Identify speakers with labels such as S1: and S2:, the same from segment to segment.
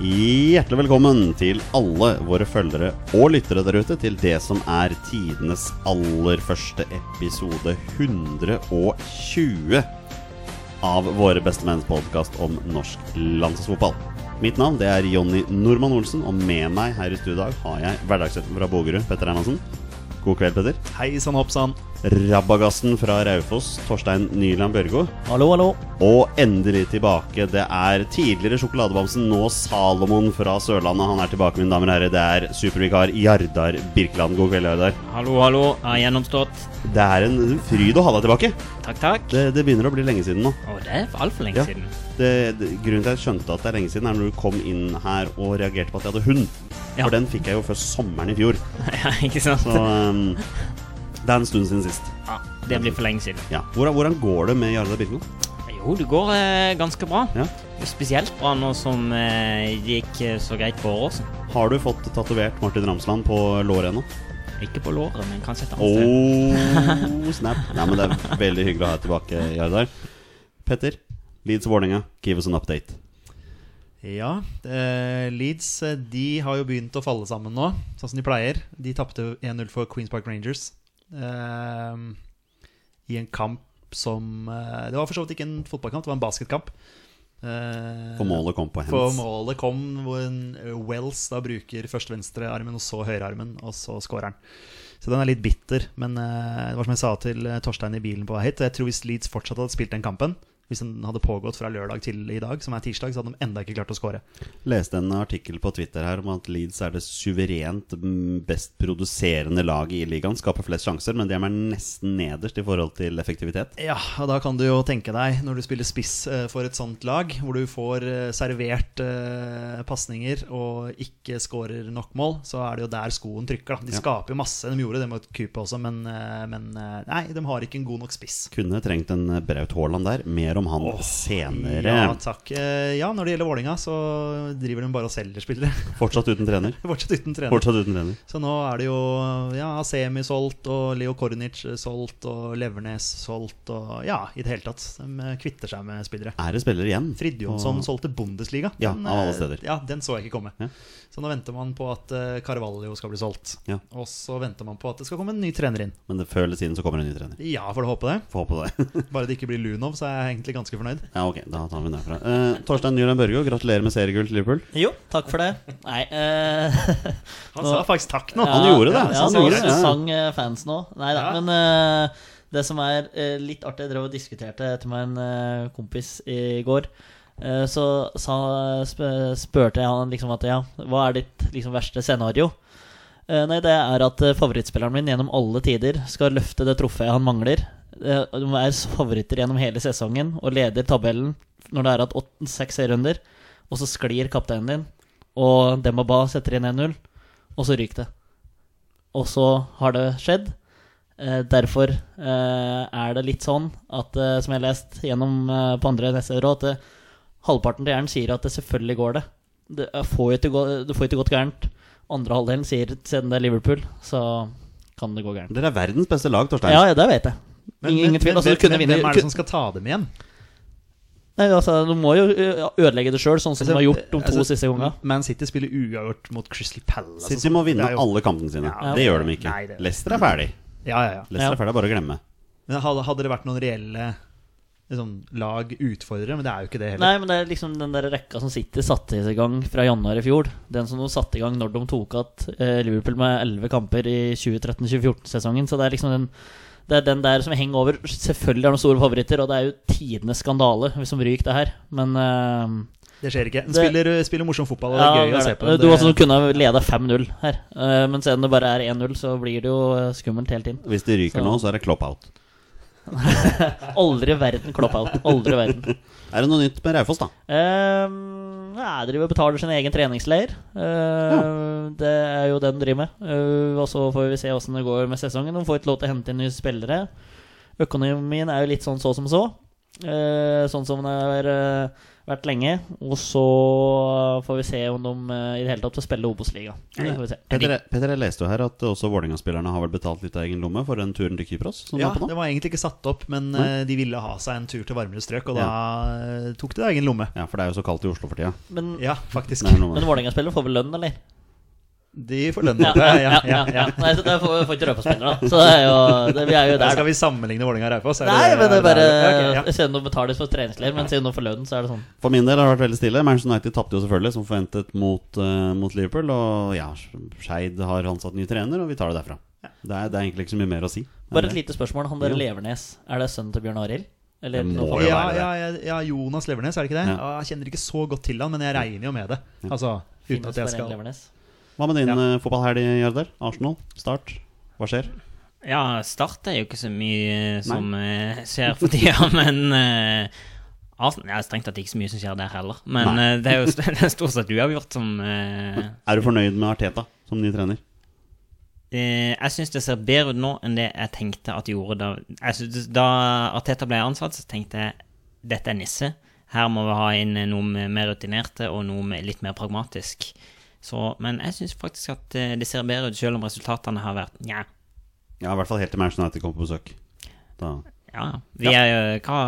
S1: Hjertelig velkommen til alle våre følgere og lyttere der ute til det som er tidenes aller første episode 120 av våre Beste menns podkast om norsk landslagsfotball. Mitt navn det er Jonny Normann Olsen, og med meg her i studio i dag har jeg hverdagsretten fra Bogerud, Petter Hermansen. God kveld, Petter.
S2: Hei sann, hopp sann.
S1: Rabagassen fra Raufoss, Torstein Nyland Børgo.
S2: Hallo, hallo.
S1: Og endelig tilbake. Det er tidligere Sjokoladebamsen, nå Salomon fra Sørlandet. Han er tilbake, mine damer og herrer. Det er supervikar Jardar Birkeland. God kveld, Jardar.
S3: Hallo, hallo. Er gjennomstått.
S1: Det er en fryd å ha deg tilbake.
S3: Takk, takk.
S1: Det, det begynner å bli lenge siden nå.
S3: Å, det er altfor lenge
S1: Ja.
S3: siden.
S1: Det, det, grunnen til at jeg skjønte at det er lenge siden, er når du kom inn her og reagerte på at jeg hadde hund.
S3: Ja.
S1: For den fikk jeg jo før sommeren i fjor.
S3: ja, ikke sant?
S1: Så um, det er en stund siden sist.
S3: Ja, det blir for lenge siden.
S1: Ja. Hvordan, hvordan går det med Jardar Birkeland?
S3: Jo, det går eh, ganske bra.
S1: Ja.
S3: Spesielt bra nå som eh, det gikk eh, så greit på Åråsen.
S1: Har du fått tatovert Martin Ramsland på låret ennå?
S3: Ikke på låret, men kanskje et annet sted.
S1: Oh, snap. Nei, men det er veldig hyggelig å ha deg tilbake, Jardar. Petter, Leeds og Vålerenga, give us an update.
S2: Ja, eh, Leeds eh, de har jo begynt å falle sammen nå, sånn som de pleier. De tapte 1-0 for Queens Park Rangers eh, i en kamp som eh, Det var for så vidt ikke en fotballkamp, det var en basketkamp. Eh,
S1: For målet kom på
S2: for
S1: hands.
S2: målet kom hvor en eh, Wells da bruker først venstrearmen og så høyrearmen, og så scorer han. Så den er litt bitter, men eh, det var som jeg sa til eh, Torstein i bilen på vei hit, jeg tror hvis Leeds fortsatt hadde spilt den kampen, hvis den hadde pågått fra lørdag til i dag, som er tirsdag, så hadde de enda ikke klart å score.
S1: Leste en artikkel på Twitter her om at Leeds er det suverent mm, best produserende laget i ligaen. Skaper flest sjanser, men de er nesten nederst i forhold til effektivitet.
S2: Ja, og da kan du jo tenke deg, når du spiller spiss eh, for et sånt lag, hvor du får eh, servert eh, pasninger og ikke skårer nok mål, så er det jo der skoen trykker. da De
S1: Ja.
S2: skaper jo masse. De gjorde det mot Cooper også, men, eh, men eh, nei, de har ikke en god nok spiss.
S1: Kunne trengt en eh, Braut Haaland der. Mer om han
S2: Åh,
S1: senere.
S2: Ja, takk. Eh, Ja, når det gjelder Vålinga, så driver de bare og selger spillere.
S1: Fortsatt uten trener.
S2: Fortsatt uten trener.
S1: Fortsatt uten trener.
S2: Så nå er det jo ja, Asemi solgt, og Leo Kornic solgt, og Levernes solgt, og ja, i det hele tatt. De eh, kvitter seg med spillere.
S1: Er det spiller igjen?
S2: Fridtjonsson
S1: Og-
S2: solgte Bundesliga.
S1: Ja,
S2: Den,
S1: av alle
S2: eh,
S1: steder.
S2: Ja, den så jeg ikke komme.
S1: Ja.
S2: Så nå venter man på at eh, Carvalho skal bli solgt.
S1: Ja.
S2: Og så venter man på at det skal komme en ny trener inn.
S1: Men det føles inn så kommer en ny trener.
S2: Ja, får du håpe det.
S1: Får håpe det.
S2: Bare det ikke blir Lunov, så er jeg egentlig ganske fornøyd.
S1: Ja, ok, da tar vi den derfra. Eh, Torstein Nyland Børgo, gratulerer med seriegull til Liverpool.
S4: Jo, takk for det. Nei eh,
S2: Han
S4: Nå-
S2: sa faktisk takk nå.
S1: Ja. han gjorde det.
S4: Ja,
S1: Han
S4: så
S1: gjorde det, ja.
S4: sang eh, fansen òg. Nei da.
S2: Ja.
S4: Men eh, det som er eh, litt artig Jeg drev og diskuterte etter meg en eh, kompis i går. Eh, så sa, sp- spurte jeg han liksom at ja, hva er ditt liksom, verste scenario? Eh, nei, det er at eh, favorittspilleren min gjennom alle tider skal løfte det trofeet han mangler. Eh, De er favoritter gjennom hele sesongen og leder tabellen når det er at åt- seks serierunder, og så sklir kapteinen din, og Demba setter inn 1-0, og så ryker det. Og så har det skjedd. Eh, Derfor eh, er det litt sånn at, eh, som jeg har lest gjennom eh, på andre nettsteder også, at eh, halvparten til hjernen sier at det selvfølgelig går det. Det eh, får jo ikke, gå- det får jo ikke gått gærent. Andre halvdelen sier siden det er Liverpool, så kan det gå gærent.
S1: Dere er verdens beste lag, Torstein.
S4: Ja, ja, det vet jeg. Ingen, ingen tvil. Altså, du kunne
S2: hvem,
S4: vinne
S2: hvem er det som skal ta dem igjen?
S4: Nei, altså, Du må jo ø, ødelegge det sjøl, sånn som du har gjort de to
S2: altså,
S4: siste gangene.
S2: Man City spiller uavgjort mot Crystal Palace. altså.
S1: City må vinne
S2: Det er jo-
S1: alle kampene sine.
S2: Ja.
S1: det gjør de ikke.
S2: Nei, det-
S1: Leicester er ferdig.
S2: Ja, ja, ja.
S1: Leicester er
S4: Ja.
S1: ferdig, bare å glemme.
S2: Men hadde, hadde det vært noen reelle liksom, lag utfordrere? Men det er jo ikke det heller.
S4: Nei, men det er liksom den der rekka som City satte i gang fra januar i fjor. Den som de satte i gang når de tok at eh, Liverpool med 11 kamper i 2013-2014-sesongen. Så det er liksom den, det er den der som henger over. Selvfølgelig er de store favoritter, og det er jo tidenes skandale hvis de ryker det her. Men eh,
S2: Det skjer ikke. Den
S4: Det-
S2: spiller, spiller morsom fotball, og det er gøy
S4: det
S2: å
S4: er
S2: se
S4: det.
S2: på. men
S4: Du
S2: det-
S4: også kunne ha leda 5-0 her, Eh, men siden det bare er 1-0, så blir det jo eh, skummelt hele tiden.
S1: Hvis de ryker
S4: Så-
S1: nå, så er det klopp out.
S4: Aldri i verden klopp out. Aldri i verden.
S1: Er det noe nytt med Raufoss, da?
S4: Um, nei, driver og betaler sin egen treningsleir. Eh, Det er jo det de driver med. Eh, og så får vi se åssen det går med sesongen. De får ikke lov til å hente inn nye spillere. Økonomien er jo litt sånn så som så. eh, sånn som det har eh, vært lenge. Og så får vi se om de eh, i det hele tatt får spille Obos-liga. Det får vi se.
S1: Petter, Petter, jeg leste jo her at også Vålerenga-spillerne har vel betalt litt av egen lomme for den turen til Kypros? Som de
S2: Ja,
S1: er på
S2: det
S1: nå?
S2: var egentlig ikke satt opp, men
S1: Nei.
S2: eh, de ville ha seg en tur til varmere strøk, og da eh, tok de da egen lomme.
S1: ja, for det er jo så kaldt i Oslo for tida.
S4: Men,
S2: Ja, faktisk.
S1: Det er noe med
S4: men
S1: det.
S4: Vålerenga-spillere får vel lønn, eller?
S2: De får lønn. Ja, ja, ja, ja.
S4: Nei, så der får vi får ikke Raufoss-spillere, da. Så det er jo, det, vi er jo der,
S2: Skal
S4: da.
S2: vi sammenligne Vålerenga og Raufoss? Er
S4: Nei, men det er bare
S2: Ja, ok, ja.
S4: Siden de betaler for treningsklær, men siden de får lønn, så er det sånn.
S1: For min del har det vært veldig stille. Manchester United tapte jo selvfølgelig, som forventet, mot, eh, mot Liverpool. Og ja, Skeid har ansatt ny trener, og vi tar det derfra. Det, er, det er egentlig ikke så mye mer å si.
S4: Bare et lite spørsmål. Han
S1: Jo.
S4: der Levernes, er det sønnen til Bjørn Arild?
S1: Det
S4: Eller
S1: må
S4: noe
S1: jo
S2: Ja,
S1: være det.
S2: ja, ja, ja, Jonas Levernes, er det ikke det?
S1: Ja.
S2: Ja. Jeg kjenner ikke så godt til han, men jeg regner jo med det. Altså, uten
S4: finnes
S2: at jeg
S4: bare en
S2: skal
S4: Levernes?
S1: Hva med din
S2: Ja.
S1: eh, fotballhelg, Jardar? Arsenal, start. Hva skjer?
S3: Ja, Start er jo ikke så mye eh, som eh, skjer for tida, men eh, Arsenal ja, Strengt tatt ikke så mye som skjer der heller. Men
S1: Nei.
S3: eh, det er jo st- det er stort sett uavgjort som eh,
S1: Er du fornøyd med Arteta som ny trener?
S3: eh, Jeg syns det ser bedre ut nå enn det jeg tenkte at det gjorde da jeg synes, Da Arteta ble ansatt, så tenkte jeg dette er nisse. Her må vi ha inn eh, noe med- mer rutinerte og noe med litt mer pragmatisk. Så, men jeg syns faktisk at eh, det ser bedre ut, selv om resultatene har vært nja.
S1: Ja, i hvert fall helt til Manchester United kommer på besøk. Da.
S3: Ja, ja. vi er jo hva,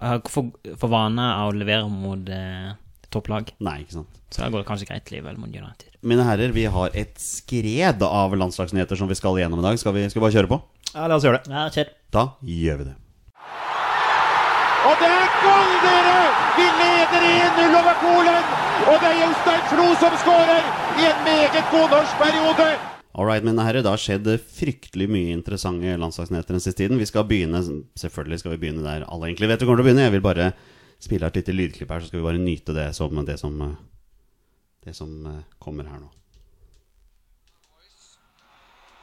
S3: har for, for vane å levere mot eh, topplag,
S1: Nei, ikke sant.
S3: så da går det kanskje greit likevel mot United.
S1: Mine herrer, vi har et skred av landslagsnyheter som vi skal igjennom i dag. Skal vi, skal vi bare kjøre på?
S2: Ja, la oss gjøre det.
S4: Ja, kjør.
S1: Da gjør vi det.
S5: Og det er gull, dere! Vi leder 1-0 over Polen! Og det er Jostein Flo som skårer i en meget god norsk periode!
S1: All right, mine herrer, det har skjedd fryktelig mye interessante landslagsnyheter den siste tiden. Vi skal begynne, selvfølgelig skal vi begynne der alle egentlig vet vi kommer til å begynne. Jeg vil bare spille av et lite lydklipp her, så skal vi bare nyte det som, det som, eh, det som eh, kommer her nå.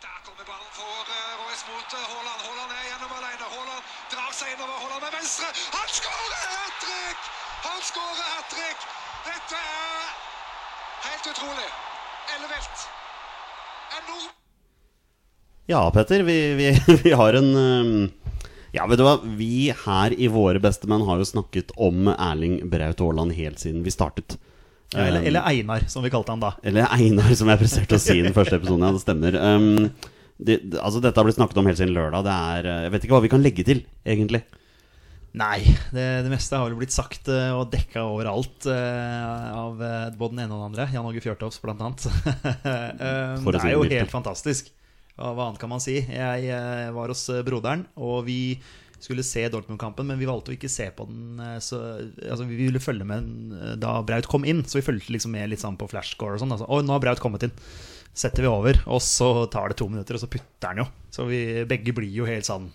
S6: Der kommer ballen for eh, Royce mot eh, Haaland. Haaland er gjennom alene. Haaland drar seg innover. Haaland med venstre. Han skårer hat trick! Han skårer hat trick! Dette er helt utrolig. Ellevilt. En nord...
S1: Ja, Petter, vi, vi, vi har en ehm, Ja, vet du hva? Vi her i Våre bestemenn har jo snakket om Erling Braut Haaland helt siden vi startet.
S2: Ja, eller, eller Einar, som vi kalte han da.
S1: Eller Einar, som jeg presterte å si i den første episoden. Ja, det stemmer. Ehm, det, det- altså, dette har blitt snakket om helt siden lørdag. Det er, eh, jeg vet ikke hva vi kan legge til, egentlig.
S2: Nei, det, det meste har vel blitt sagt eh, og dekka overalt eh, av eh, både den ene og den andre. Jan Åge Fjørtoft, blant annet. Eh,
S1: For å
S2: det
S1: si det
S2: er jo
S1: mildt.
S2: helt fantastisk. Ja, hva annet kan man si? Jeg eh, var hos eh, broderen, og vi skulle se Dortmund-kampen, men vi valgte å ikke se på den. eh, Så, altså, vi ville følge med den, eh, da Braut kom inn, så vi fulgte liksom med litt sånn på flashscore og sånn. Altså, å, nå har Braut kommet inn. Setter vi over, og så tar det to minutter, og så putter han jo. Så vi begge blir jo helt sånn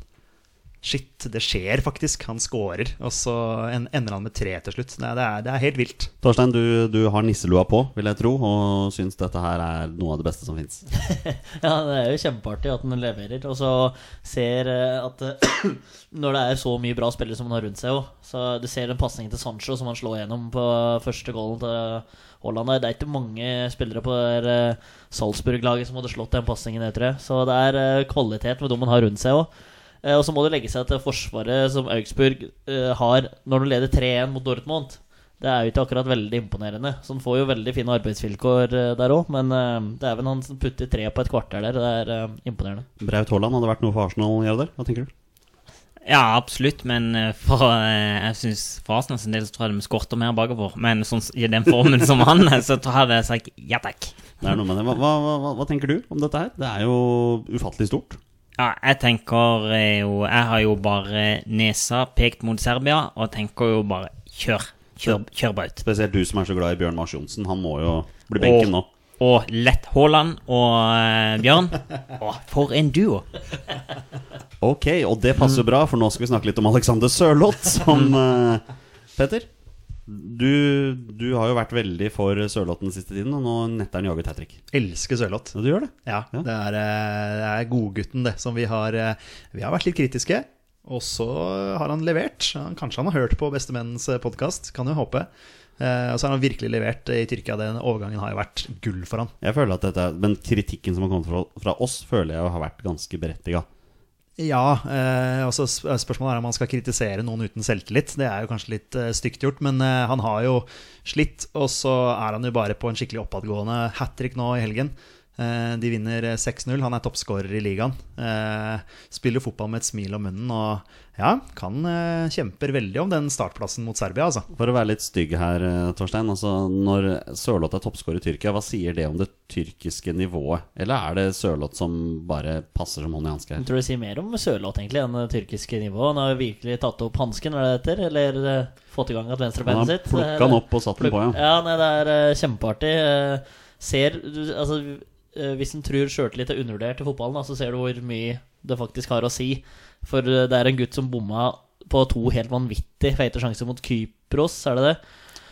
S2: Shit, det skjer faktisk. Han scorer, og så en, ender han med tre til slutt. Nei, det, er, det er helt vilt.
S1: Torstein, du, du har nisselua på, vil jeg tro, og syns dette her er noe av det beste som fins.
S4: Ja, det er jo kjempeartig at den leverer. Og så ser eh, at eh, når det er så mye bra spillere som han har rundt seg også, Så du ser den pasningen til Sancho som han slår gjennom på første goalen til Haaland der. Det er ikke mange spillere på det der, eh, Salzburg-laget som hadde slått den pasningen, jeg tror jeg. Så det er eh, kvalitet med dem han har rundt seg òg. Og så må det legge seg til forsvaret som Augsburg eh, har når du leder 3-1 mot Dortmund. Det er jo ikke akkurat veldig imponerende. Så han får jo veldig fine arbeidsvilkår eh, der òg, men eh, det er vel han som putter tre på et kvarter der. Det er eh, imponerende.
S1: Braut Haaland hadde vært noe for Arsenal, Jardar? Hva tenker du?
S3: Ja, absolutt, men eh, for, eh, jeg synes for Arsenal sin del så tror jeg de skorter mer bakover. Men sånn, s- i den formen som han er, så tror jeg det er sagt ja takk.
S1: Det er noe med det. Hva, hva, hva, hva tenker du om dette her? Det er jo ufattelig stort.
S3: Ja, jeg tenker eh, jo Jeg har jo bare nesa pekt mot Serbia, og tenker jo bare kjør. Kjør, kjør Braut.
S1: Spesielt du som er så glad i Bjørn Mars Johnsen. Han må jo bli benken nå.
S3: Og lett Haaland og eh, Bjørn. Å, for en duo!
S1: Ok, og det passer jo bra, for nå skal vi snakke litt om Alexander Sørloth, som eh, Petter, du, du har jo vært veldig for Sørloth den siste tiden, og nå netter han jaget hat trick.
S2: Elsker Sørloth.
S1: Ja, du gjør det?
S2: Ja,
S1: Ja.
S2: Det er, eh, det er godgutten, det, som vi har eh, Vi har vært litt kritiske, og så har han levert. Han- Kanskje han har hørt på Bestemennens podkast, kan jo håpe. Eh, Og så har han virkelig levert i Tyrkia. Den overgangen har jo vært gull for han.
S1: Jeg føler at dette, er- Men kritikken som har kommet fra, fra oss, føler jeg har vært ganske berettiga.
S2: Ja. Eh, altså sp- spørsmålet er om han skal kritisere noen uten selvtillit. Det er jo kanskje litt eh, stygt gjort, men eh, han har jo slitt. Og så er han jo bare på en skikkelig oppadgående hat trick nå i helgen. Eh, de vinner eh, 6-0. Han er toppskårer i ligaen. Eh, spiller fotball med et smil om munnen og ja, kan eh, kjemper veldig om den startplassen mot Serbia, altså.
S1: For å være litt stygg her, eh, Torstein. Altså, når Sørloth er toppskårer i Tyrkia, hva sier det om det tyrkiske nivået? Eller er det Sørloth som bare passer som hånd i hanske her?
S4: Jeg tror det sier mer om Sørloth egentlig enn det tyrkiske nivået. Han har jo virkelig tatt opp hansken, er det det heter? Eller eh, fått i gang at
S1: Han
S4: venstrebeinet
S1: har
S4: sitt?
S1: plukka
S4: Eller-
S1: den opp og satt den på, ja.
S4: Ja, nei, det er eh, kjempeartig. Eh, ser du- Altså, eh, hvis en tror sjøltillit er undervurdert i fotballen, da, så ser du hvor mye det faktisk har å si. For eh, det er en gutt som bomma på to helt vanvittig feite sjanser mot Kypros, er det det?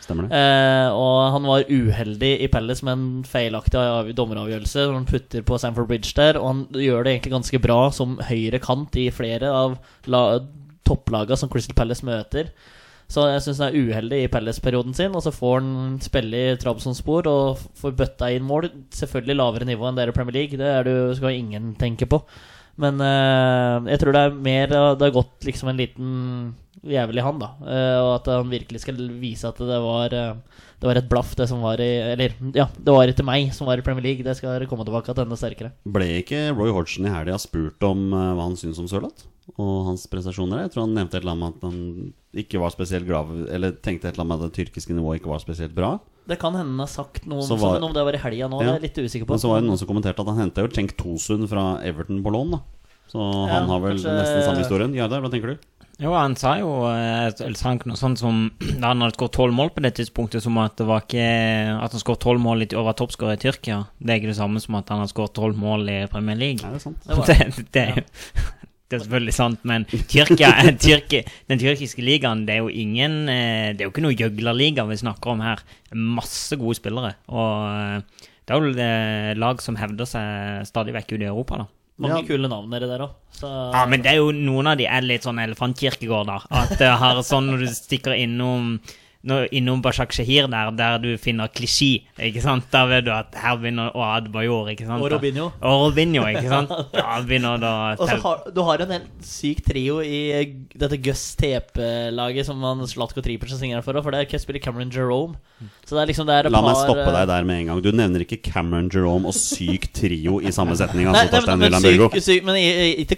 S1: Stemmer det?
S4: Eh, og han var uheldig i Palace med en feilaktig av- dommeravgjørelse. Når han putter på Sanford Bridge der, og han gjør det egentlig ganske bra som høyre kant i flere av la topplaga som Crystal Palace møter. Så jeg syns han er uheldig i Palace-perioden sin, og så får han spille i Trabzon-spor og f- får bøtta inn mål. Selvfølgelig lavere nivå enn dere i Premier League, det er det jo, skal ingen tenke på. Men eh, jeg tror det er mer av- Det har gått liksom en liten jævlig han, da. Eh, og at han virkelig skal vise at det var eh, Det var et blaff, det som var i Eller, ja, det var ikke meg som var i Premier League. Det skal komme tilbake til enda sterkere.
S1: Ble ikke Roy Hodgson i helga spurt om eh, hva han syns om Sørloth? Og hans prestasjoner? Jeg tror han nevnte et eller annet med at han ikke var spesielt grav, eller tenkte et eller annet med at det tyrkiske nivået ikke var spesielt bra.
S4: Det kan hende han har sagt noe om,
S1: Så var-
S4: sånn, om det var i helga nå.
S1: Ja.
S4: Det er jeg litt usikker på.
S1: Men så var det noen som kommenterte at han henta jo Cenk Tosun fra Everton på lån, da. Så
S4: Ja,
S1: han har vel
S4: kanskje-
S1: nesten samme historien. Jardar, hva tenker du?
S3: Jo, han sa jo eh, eller sa han ikke noe sånt som da han hadde skåret tolv mål på det tidspunktet, som at det var ikke At han skåret tolv mål litt over toppskårer i Tyrkia. Det er ikke det samme som at han har skåret tolv mål i Premier League.
S1: Er det sant?
S4: Det var-
S3: Det, det, er jo- det er selvfølgelig sant, men Tyrkia, er- Tyrki, den tyrkiske ligaen det er jo ingen eh, Det er jo ikke noe gjøglerliga vi snakker om her. Masse gode spillere. Og eh, det er jo eh, lag som hevder seg stadig vekk ute i Europa, da.
S4: Mange
S1: Ja.
S4: kule navn nedi der òg. Så
S3: Ja, men det er jo noen av de er litt sånn elefantkirkegårder. At det har sånn når du stikker innom når, innom Bashak Shahir der, der du finner klisjé, ikke sant? Da vet du at her begynner Oad Bajor, ikke sant?
S4: Og Robinho.
S3: Og Robinho, ikke sant? Da begynner da
S4: Og så har, du har en helt syk trio i eh, dette Gus TP-laget som han Slatko Tripic signerer for. For der spiller Cameron Jerome. Så det er liksom det er et
S1: Mm. La meg
S4: par,
S1: stoppe
S4: eh,
S1: deg der med en gang. Du nevner ikke Cameron Jerome og syk trio i samme setning.
S4: Nei,
S1: Altså,
S4: nei, men,
S1: Torstein
S4: men,
S1: Wilhelm Burgo.
S4: syk, syk, men i, i, ikke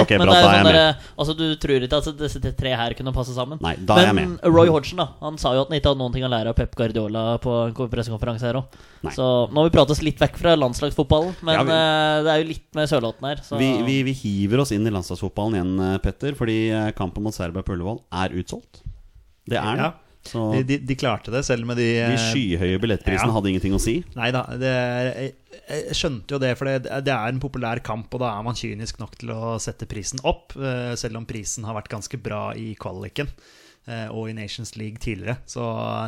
S1: Nei, ok,
S4: men
S1: bra,
S4: det er
S1: da er
S4: jo
S1: jeg
S4: sånn der, altså, du tror ikke at disse t- tre her kunne passe sammen?
S1: Nei, da er jeg
S4: men Roy Hodgson da Han sa jo at han ikke hadde noen ting å lære av Pep Guardiola på en ko- pressekonferanse her òg.
S1: Nei.
S4: Så nå har vi pratet oss litt vekk fra landslagsfotballen, men
S1: Ja, vi-
S4: eh, det er jo litt med Sørlotten her. Så
S1: Vi,
S2: eh,
S1: vi, vi hiver oss inn i landslagsfotballen igjen, eh, Petter. Fordi eh, kampen mot Serbia på Ullevål er utsolgt. Det er den.
S2: Ja.
S1: Så
S2: De, de, de klarte det, selv med de
S1: de
S2: eh,
S1: skyhøye billettprisene
S2: ja.
S1: hadde ingenting å si.
S2: Nei da, det er, jeg, jeg skjønte jo det, for det, det er en populær kamp, og da er man kynisk nok til å sette prisen opp, eh, selv om prisen har vært ganske bra i kvaliken eh, og i Nations League tidligere. Så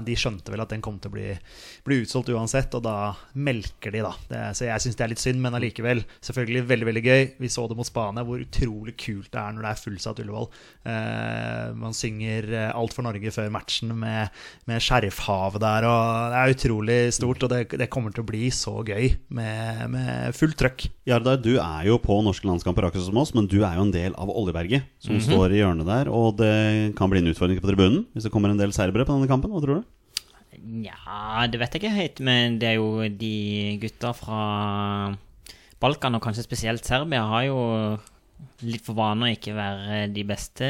S2: de skjønte vel at den kom til å bli, bli utsolgt uansett, og da melker de, da. Det, så Altså, jeg syns det er litt synd, men allikevel selvfølgelig veldig, veldig gøy. Vi så det mot Spania, hvor utrolig kult det er når det er fullsatt Ullevål. Eh, man synger eh, Alt for Norge før matchen med, med Skjerfhavet der, og det er utrolig stort. Og det, det kommer til å bli så gøy med, med fullt trøkk.
S1: Jardar, du er jo på norske landskamper akkurat som oss, men du er jo en del av Oljeberget, som står i hjørnet der. Og det kan bli en utfordring på tribunen hvis det kommer en del serbere på denne kampen. Hva tror du?
S3: Nja, det vet jeg ikke helt, men det er jo de gutta fra Balkan, og kanskje spesielt Serbia, har jo litt for vane å ikke være de beste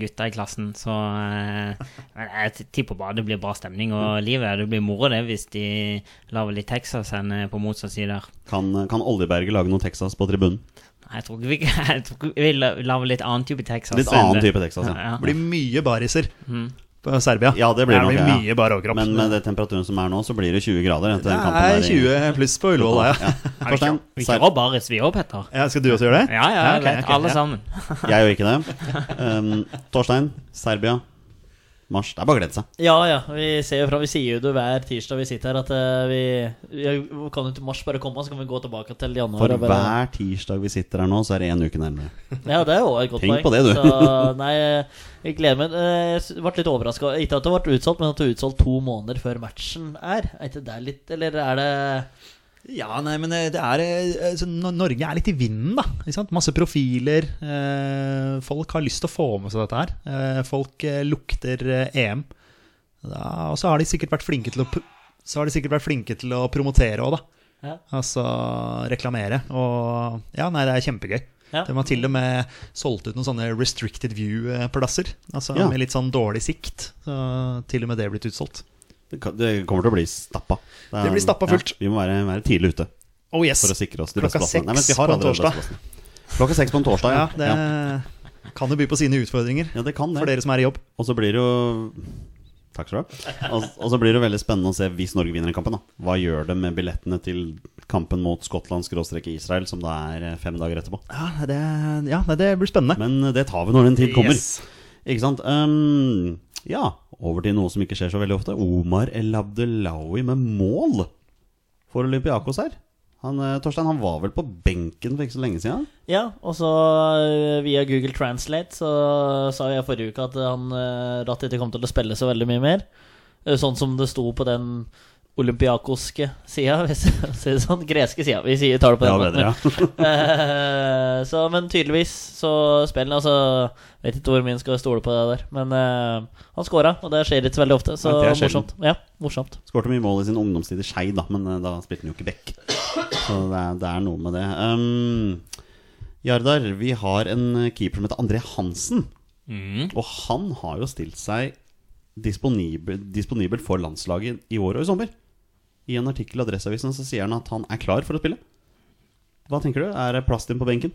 S3: gutta i klassen. Så eh, men jeg tipper bare det blir bra stemning, og livet det blir moro det hvis de lager litt Texas enn på motsatt side der.
S1: Kan, kan Oljeberget lage noe Texas på tribunen?
S3: Nei, Jeg tror ikke vi, jeg tror ikke vi la- lager litt annen type Texas.
S1: Litt
S3: enn
S1: annen
S3: det.
S1: type Texas, ja. Mm.
S2: Det blir mye bariser på Serbia.
S1: Ja, det blir nok, ja, ja.
S2: mye bar overkropp.
S1: Men med det temperaturen som er nå, så blir det 20 grader. etter
S2: det
S1: den kampen der
S2: er
S1: i-
S2: 20 pluss på Ullevål, da, ja.
S3: Ja, vi
S1: Torstein,
S3: kjører- Vi
S1: Ser-
S3: kjører baris, vi òg, Petter.
S2: ja. Skal du også gjøre det?
S3: Ja, ja,
S2: ok,
S3: vet,
S2: ok,
S3: alle
S2: ja.
S3: sammen.
S1: Jeg gjør ikke det. Um, Torstein, Serbia, mars. Det er bare å glede seg.
S4: Ja, ja. Vi ser jo fra, vi sier jo det hver tirsdag vi sitter her, at eh, vi, vi kan jo til mars bare komme, så kan vi gå tilbake til januar.
S1: For
S4: og bare,
S1: hver tirsdag vi sitter her nå, så er det én uke nærmere.
S4: Ja, det er jo et godt
S1: Tenk på det, du.
S4: Så, nei, jeg gleder meg. Eh, Jeg ble litt overraska. Ikke at det ble utsolgt, men at det er utsolgt to måneder før matchen er. Er ikke det litt Eller er det
S2: Ja, nei, men eh, det er eh, altså, N- Norge er litt i vinden, da. Ikke sant? Masse profiler. Eh, folk har lyst til å få med seg dette her. Eh, folk eh, lukter eh, EM. Da, og så har de sikkert vært flinke til å pr- Så har de sikkert vært flinke til å promotere òg, da.
S4: Ja.
S2: Altså reklamere. Og ja, nei, det er kjempegøy.
S4: Ja.
S2: De har til og med solgt ut noen sånne restricted view-plasser. Altså
S1: Ja.
S2: Med litt sånn dårlig sikt. Så til og med det er blitt utsolgt.
S1: Det kan- det kommer til å bli stappa. er-
S2: Det blir stappa fullt.
S1: Ja, vi må være, være tidlig ute
S2: Oh yes!
S1: for å sikre oss de
S2: Klokka
S1: beste plassene. Nei, vent,
S2: seks
S1: vi har
S2: på en
S1: allerede
S2: torsdag.
S1: besteplassene. Klokka seks på en torsdag,
S2: Ja,
S1: ja.
S2: det
S1: ja.
S2: kan jo by på sine utfordringer
S1: ja det kan det.
S2: for dere som er i jobb.
S1: Og så blir det jo Takk skal du ha. Og, og så blir det veldig spennende å se hvis Norge vinner den kampen. da Hva gjør det med billettene til kampen mot Skottland-Israel, som da er eh, fem dager etterpå?
S2: Ja, det, ja, nei, det blir spennende.
S1: Men eh, det tar vi når den tid kommer.
S2: Yes.
S1: Ikke sant? Ehm, ja, over til noe som ikke skjer så veldig ofte. Omar El Abdelawi med mål for Olympiakos her. Han, eh, Torstein, han var vel på benken for ikke så lenge siden?
S4: Ja, og så eh, via Google Translate så sa jeg forrige uke at han eh, rett ikke kom til å spille så veldig mye mer. Eh, Sånn som det sto på den olympiakoske sida, hvis jeg sier det sånn. Greske sida. Vi sier tar det på den måten.
S1: ja.
S4: Eh, så, men tydeligvis så spiller han altså, Vet ikke hvor mye han skal stole på det der. Men eh, han scora, og det skjer ikke så veldig ofte. Så
S1: Nei, det er sjelden.
S4: morsomt. Ja, morsomt.
S1: Skårte mye mål i sin ungdomstid i Skei, da, men eh, da spilte han jo ikke back. Så det er, det er noe med det. Um, Jardar, vi har en eh, keeper som heter André Hansen.
S3: Mm.
S1: Og han har jo stilt seg disponibel, disponibel for landslaget i år og i sommer. I en artikkel i Adresseavisen så sier han at han er klar for å spille. Hva tenker du? Er det plass til ham på benken?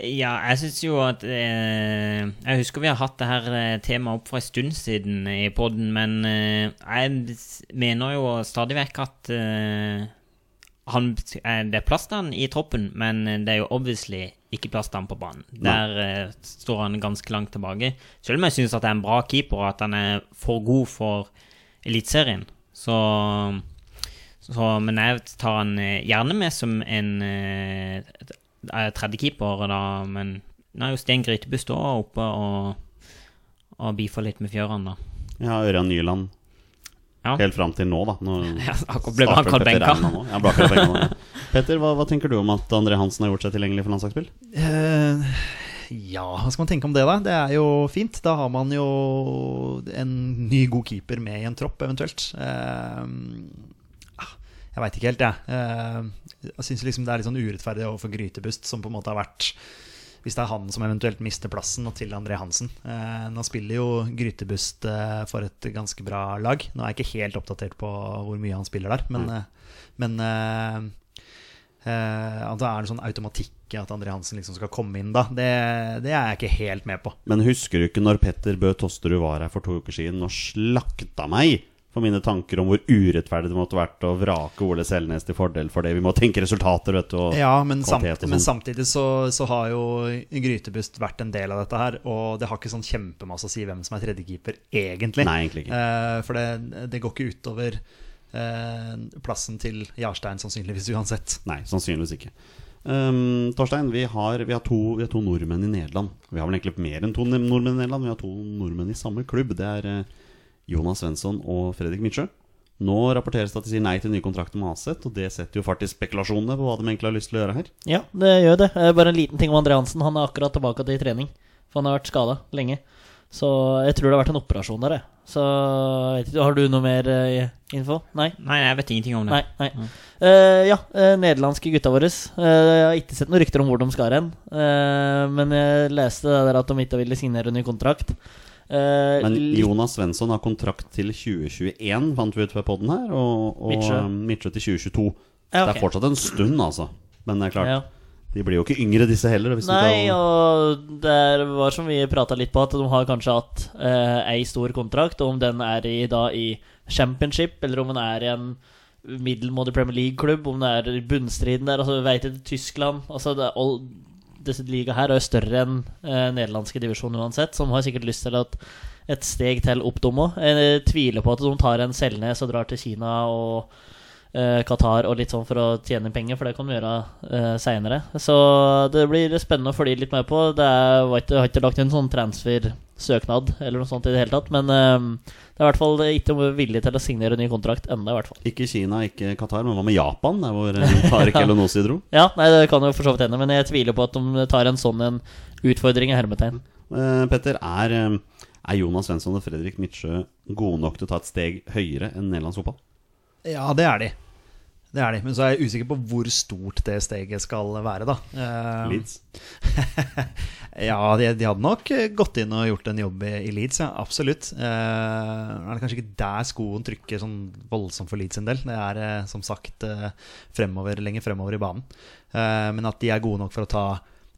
S3: Ja, jeg syns jo at eh, Jeg husker vi har hatt det her eh, temaet opp for en stund siden i poden, men eh, jeg s- mener jo stadig vekk at eh, han, eh, det er plass til han i troppen, men det er jo obviously ikke plass til han på banen. Der eh, står han ganske langt tilbake. Selv om jeg syns at det er en bra keeper, og at han er for god for Eliteserien, så, så Men jeg tar han eh, gjerne med som en eh, eh, tredjekeeper, da, men nå er jo Sten Grytebust òg oppe og, og bifa litt med fjørene, da.
S1: Ja, Ørjan Nyland.
S3: Ja.
S1: Helt fram til nå, da. Nå
S3: Ja, akkurat ble han
S1: starter
S3: kalt
S1: Petter
S3: benka.
S1: Eiland nå. Ja, ble akkurat benka nå, ja. Petter, hva, hva tenker du om at André Hansen har gjort seg tilgjengelig for landslagsspill?
S2: Eh, ja, hva skal man tenke om det, da? Det er jo fint. Da har man jo en ny, god keeper med i en tropp, eventuelt. Eh, ah, jeg veit ikke helt, jeg. Eh, jeg syns liksom det er litt sånn urettferdig overfor Grytebust, som på en måte har vært hvis det er han som eventuelt mister plassen, og til André Hansen. Eh, nå spiller jo Grytebust eh, for et ganske bra lag. Nå er jeg ikke helt oppdatert på hvor mye han spiller der, men, eh, men eh, eh, at det er en sånn automatikk i at André Hansen liksom skal komme inn da, det, det er jeg ikke helt med på.
S1: Men husker du ikke når Petter Bø Tosterud var her for to uker siden og slakta meg for mine tanker om hvor urettferdig det måtte vært å vrake Ole Selnes til fordel for det? Vi må tenke resultater, vet du. Og
S2: Ja, men,
S1: kvalitet
S2: samt,
S1: og
S2: men
S1: sånn.
S2: samtidig så, så har jo Grytebust vært en del av dette her, og det har ikke sånn kjempemasse å si hvem som er tredjekeeper, egentlig.
S1: Nei, egentlig ikke.
S2: Eh, for det, det går ikke utover eh, plassen til Jarstein, sannsynligvis uansett.
S1: Nei, sannsynligvis ikke. Ehm, Torstein, vi har, vi, har to, vi har to nordmenn i Nederland. Vi har vel egentlig mer enn to ne- nordmenn i Nederland. Vi har to nordmenn i samme klubb. Det er eh, Jonas Svensson og Fredrik Midtsjø. Nå rapporteres det at de sier nei til nye kontrakter med Aset, og det setter jo fart i spekulasjonene på hva de egentlig har lyst til å gjøre her.
S4: Ja, det gjør det. Eh, Bare en liten ting om André Hansen. Han er akkurat tilbake til trening. For han har vært skada lenge. Så jeg tror det har vært en operasjon der, jeg. Så jeg vet ikke, har du noe mer eh, info? Nei?
S3: Nei, jeg vet ingenting om det.
S4: Nei. nei. Eh, ja, eh, nederlandske gutta våre. Eh, jeg har ikke sett noen rykter om hvor de skal hen. Eh, men jeg leste det der at de ikke ville signere ny kontrakt. Eh,
S1: Men
S4: litt-
S1: Jonas Svensson har kontrakt til 2021, fant vi ut ved podden her, og, og
S4: Midtsjø.
S1: eh, Midtsjø til 2022. Det
S4: Ja, ok.
S1: er fortsatt en stund, altså. Men det er klart,
S4: Ja.
S1: de blir jo ikke yngre, disse heller. Hvis
S4: Nei,
S1: du kan...
S4: og det var som vi prata litt på, at de har kanskje hatt eh, ei stor kontrakt, og om den er i, da i championship, eller om den er i en middelmådig Premier League-klubb, om det er i bunnstriden der, altså vei til Tyskland altså det er all, Disse liga her er jo større enn eh, nederlandske divisjon uansett, som har sikkert lyst til at et steg til opp, de òg. Jeg tviler på at de tar en Selnes og drar til Kina og eh, Qatar og litt sånn for å tjene penger, for det kan de gjøre eh, seinere. Så det blir spennende å følge litt med på. Det er, var ikke, har ikke lagt en sånn transfer søknad eller noe sånt i det hele tatt. Men eh, det er i hvert fall ikke vilje til å signere ny kontrakt ennå, i hvert fall.
S1: Ikke Kina, ikke Qatar, men hva med Japan, der hvor eh, Tariq Elonosi dro?
S4: Ja, nei, det kan jo for så vidt hende, men jeg tviler på at de tar en sånn en utfordring i hermetegn.
S1: Eh, Petter, er, eh, er Jonas Svensson og Fredrik Midtsjø gode nok til å ta et steg høyere enn nederlandsk fotball?
S2: Ja, det er de. Det er de, Men så er jeg usikker på hvor stort det steget skal være, da. Eh,
S1: Leeds?
S2: ja, de, de hadde nok eh, gått inn og gjort en jobb i, i Leeds, ja. Absolutt. Eh, er det kanskje ikke der skoen trykker sånn voldsomt for Leeds sin del. Det er eh, som sagt eh, fremover, lenger fremover i banen. Eh, men at de er gode nok for å ta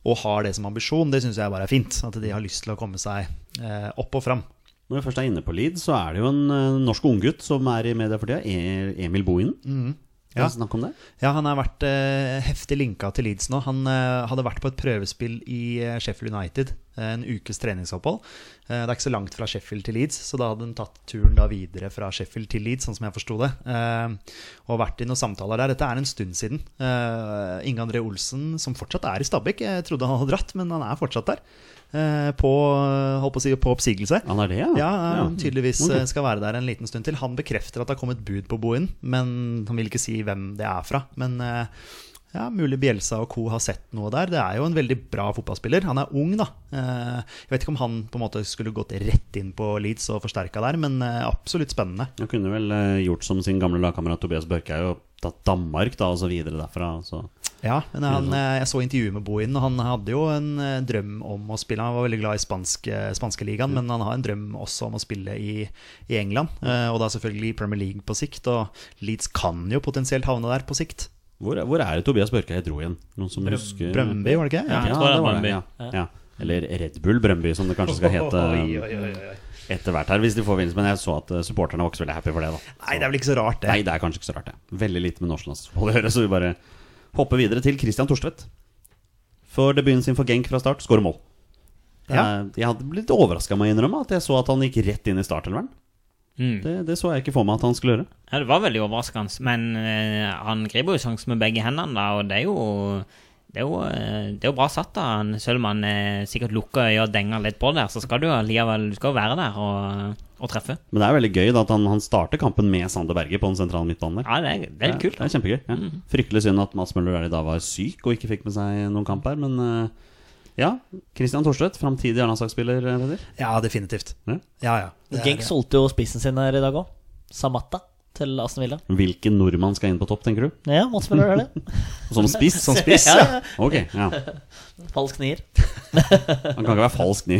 S2: og har det som ambisjon, det syns jeg bare er fint. At de har lyst til å komme seg eh, opp og fram.
S1: Når vi først er inne på Leeds, så er det jo en eh, norsk unggutt som er i media for tida. E- Emil Bohinen. Kan
S2: Mm. Ja.
S1: du snakke om det?
S2: Ja, han har vært eh, heftig linka til Leeds nå. Han eh, hadde vært på et prøvespill i eh, Sheffield United. eh, en ukes treningsopphold. Eh, det er ikke så langt fra Sheffield til Leeds, så da hadde han tatt turen da videre fra Sheffield til Leeds, sånn som jeg forsto det. Eh, og vært i noen samtaler der. Dette er en stund siden. Eh, Inge André Olsen, som fortsatt er i Stabæk, jeg trodde han hadde dratt, men han er fortsatt der. eh, på, holdt på å si, på oppsigelse.
S1: Han er det, ja?
S2: Ja, han tydeligvis
S1: Ok.
S2: eh, skal være der en liten stund til. Han bekrefter at det har kommet bud på Bohin, men han vil ikke si hvem det er fra. Men eh, ja, mulig Bjelsa og co. har sett noe der. Det er jo en veldig bra fotballspiller. Han er ung, da. Eh, Jeg vet ikke om han på en måte skulle gått rett inn på Leeds og forsterka der, men eh, absolutt spennende.
S1: Han kunne vel eh, gjort som sin gamle lagkamerat Tobias Børkei og tatt Danmark da, og så videre derfra. Så.
S2: Ja, men han, eh, jeg så intervjuet med Bohin, og han hadde jo en eh, drøm om å spille. Han var veldig glad i spansk, eh, spanskeligaen, men han har en drøm også om å spille i, i England. eh, Og da selvfølgelig i Premier League på sikt, og Leeds kan jo potensielt havne der på sikt.
S1: Hvor, hvor er det Tobias Børkei dro igjen? Noen som husker
S2: Brøndby, var det ikke?
S1: Ja,
S3: jeg tror det er
S1: det var
S3: Brøndby.
S1: det. Ja. Ja. Eller Red Bull Brøndby, som det kanskje skal hete um,
S2: Oi, oi, oi, oi.
S1: etter hvert her, hvis de får vinst. Men jeg så at eh, supporterne var ikke så veldig happy for det, da.
S2: Nei, det er vel ikke så rart, det.
S1: Nei, det er kanskje ikke så rart, det. Veldig lite med norsk landslagsfotball å gjøre, så vi bare hopper videre til Christian Thorstvedt. For debuten sin for Genk fra start, skårer mål.
S2: Ja.
S1: Eh, Jeg hadde blitt overraska, må jeg innrømme, at jeg så at han gikk rett inn i startelveren.
S3: Mm.
S1: Det, det så jeg ikke for meg at han skulle gjøre.
S3: Ja, det var veldig overraskende, men eh, han griper jo sjansen med begge hendene, da, og det er jo det er, jo, eh, det er jo bra satt, da. Han- Selv om han eh, sikkert lukker øya og denger litt på der, så skal du jo allikevel du skal jo være der og, og treffe.
S1: Men det er veldig gøy da, at han, han starter kampen med Sander Berge på den sentrale midtbanen der.
S3: Ja, det er, det er litt kult.
S1: Det er kjempegøy. Ja.
S4: Mhm.
S1: Fryktelig synd at Mats Møller Dæhlie da var syk og ikke fikk med seg noen kamp her, men eh, ja. Christian Thorstvedt, framtidig Arendalsdagsspiller, Peder.
S2: Ja, definitivt.
S1: Ja.
S2: Ja, ja. Det er-
S4: Genk solgte jo spissen sin her i dag òg. Samatta til Aston Villa.
S1: Hvilken nordmann skal inn på topp, tenker du?
S4: Ja, Mats Møller er det.
S1: Som spiss?
S2: Som spiss,
S4: Ja,
S2: ja.
S4: ja.
S1: Ok, ja.
S4: Falsk nier.
S1: Han kan ikke være falsk ny.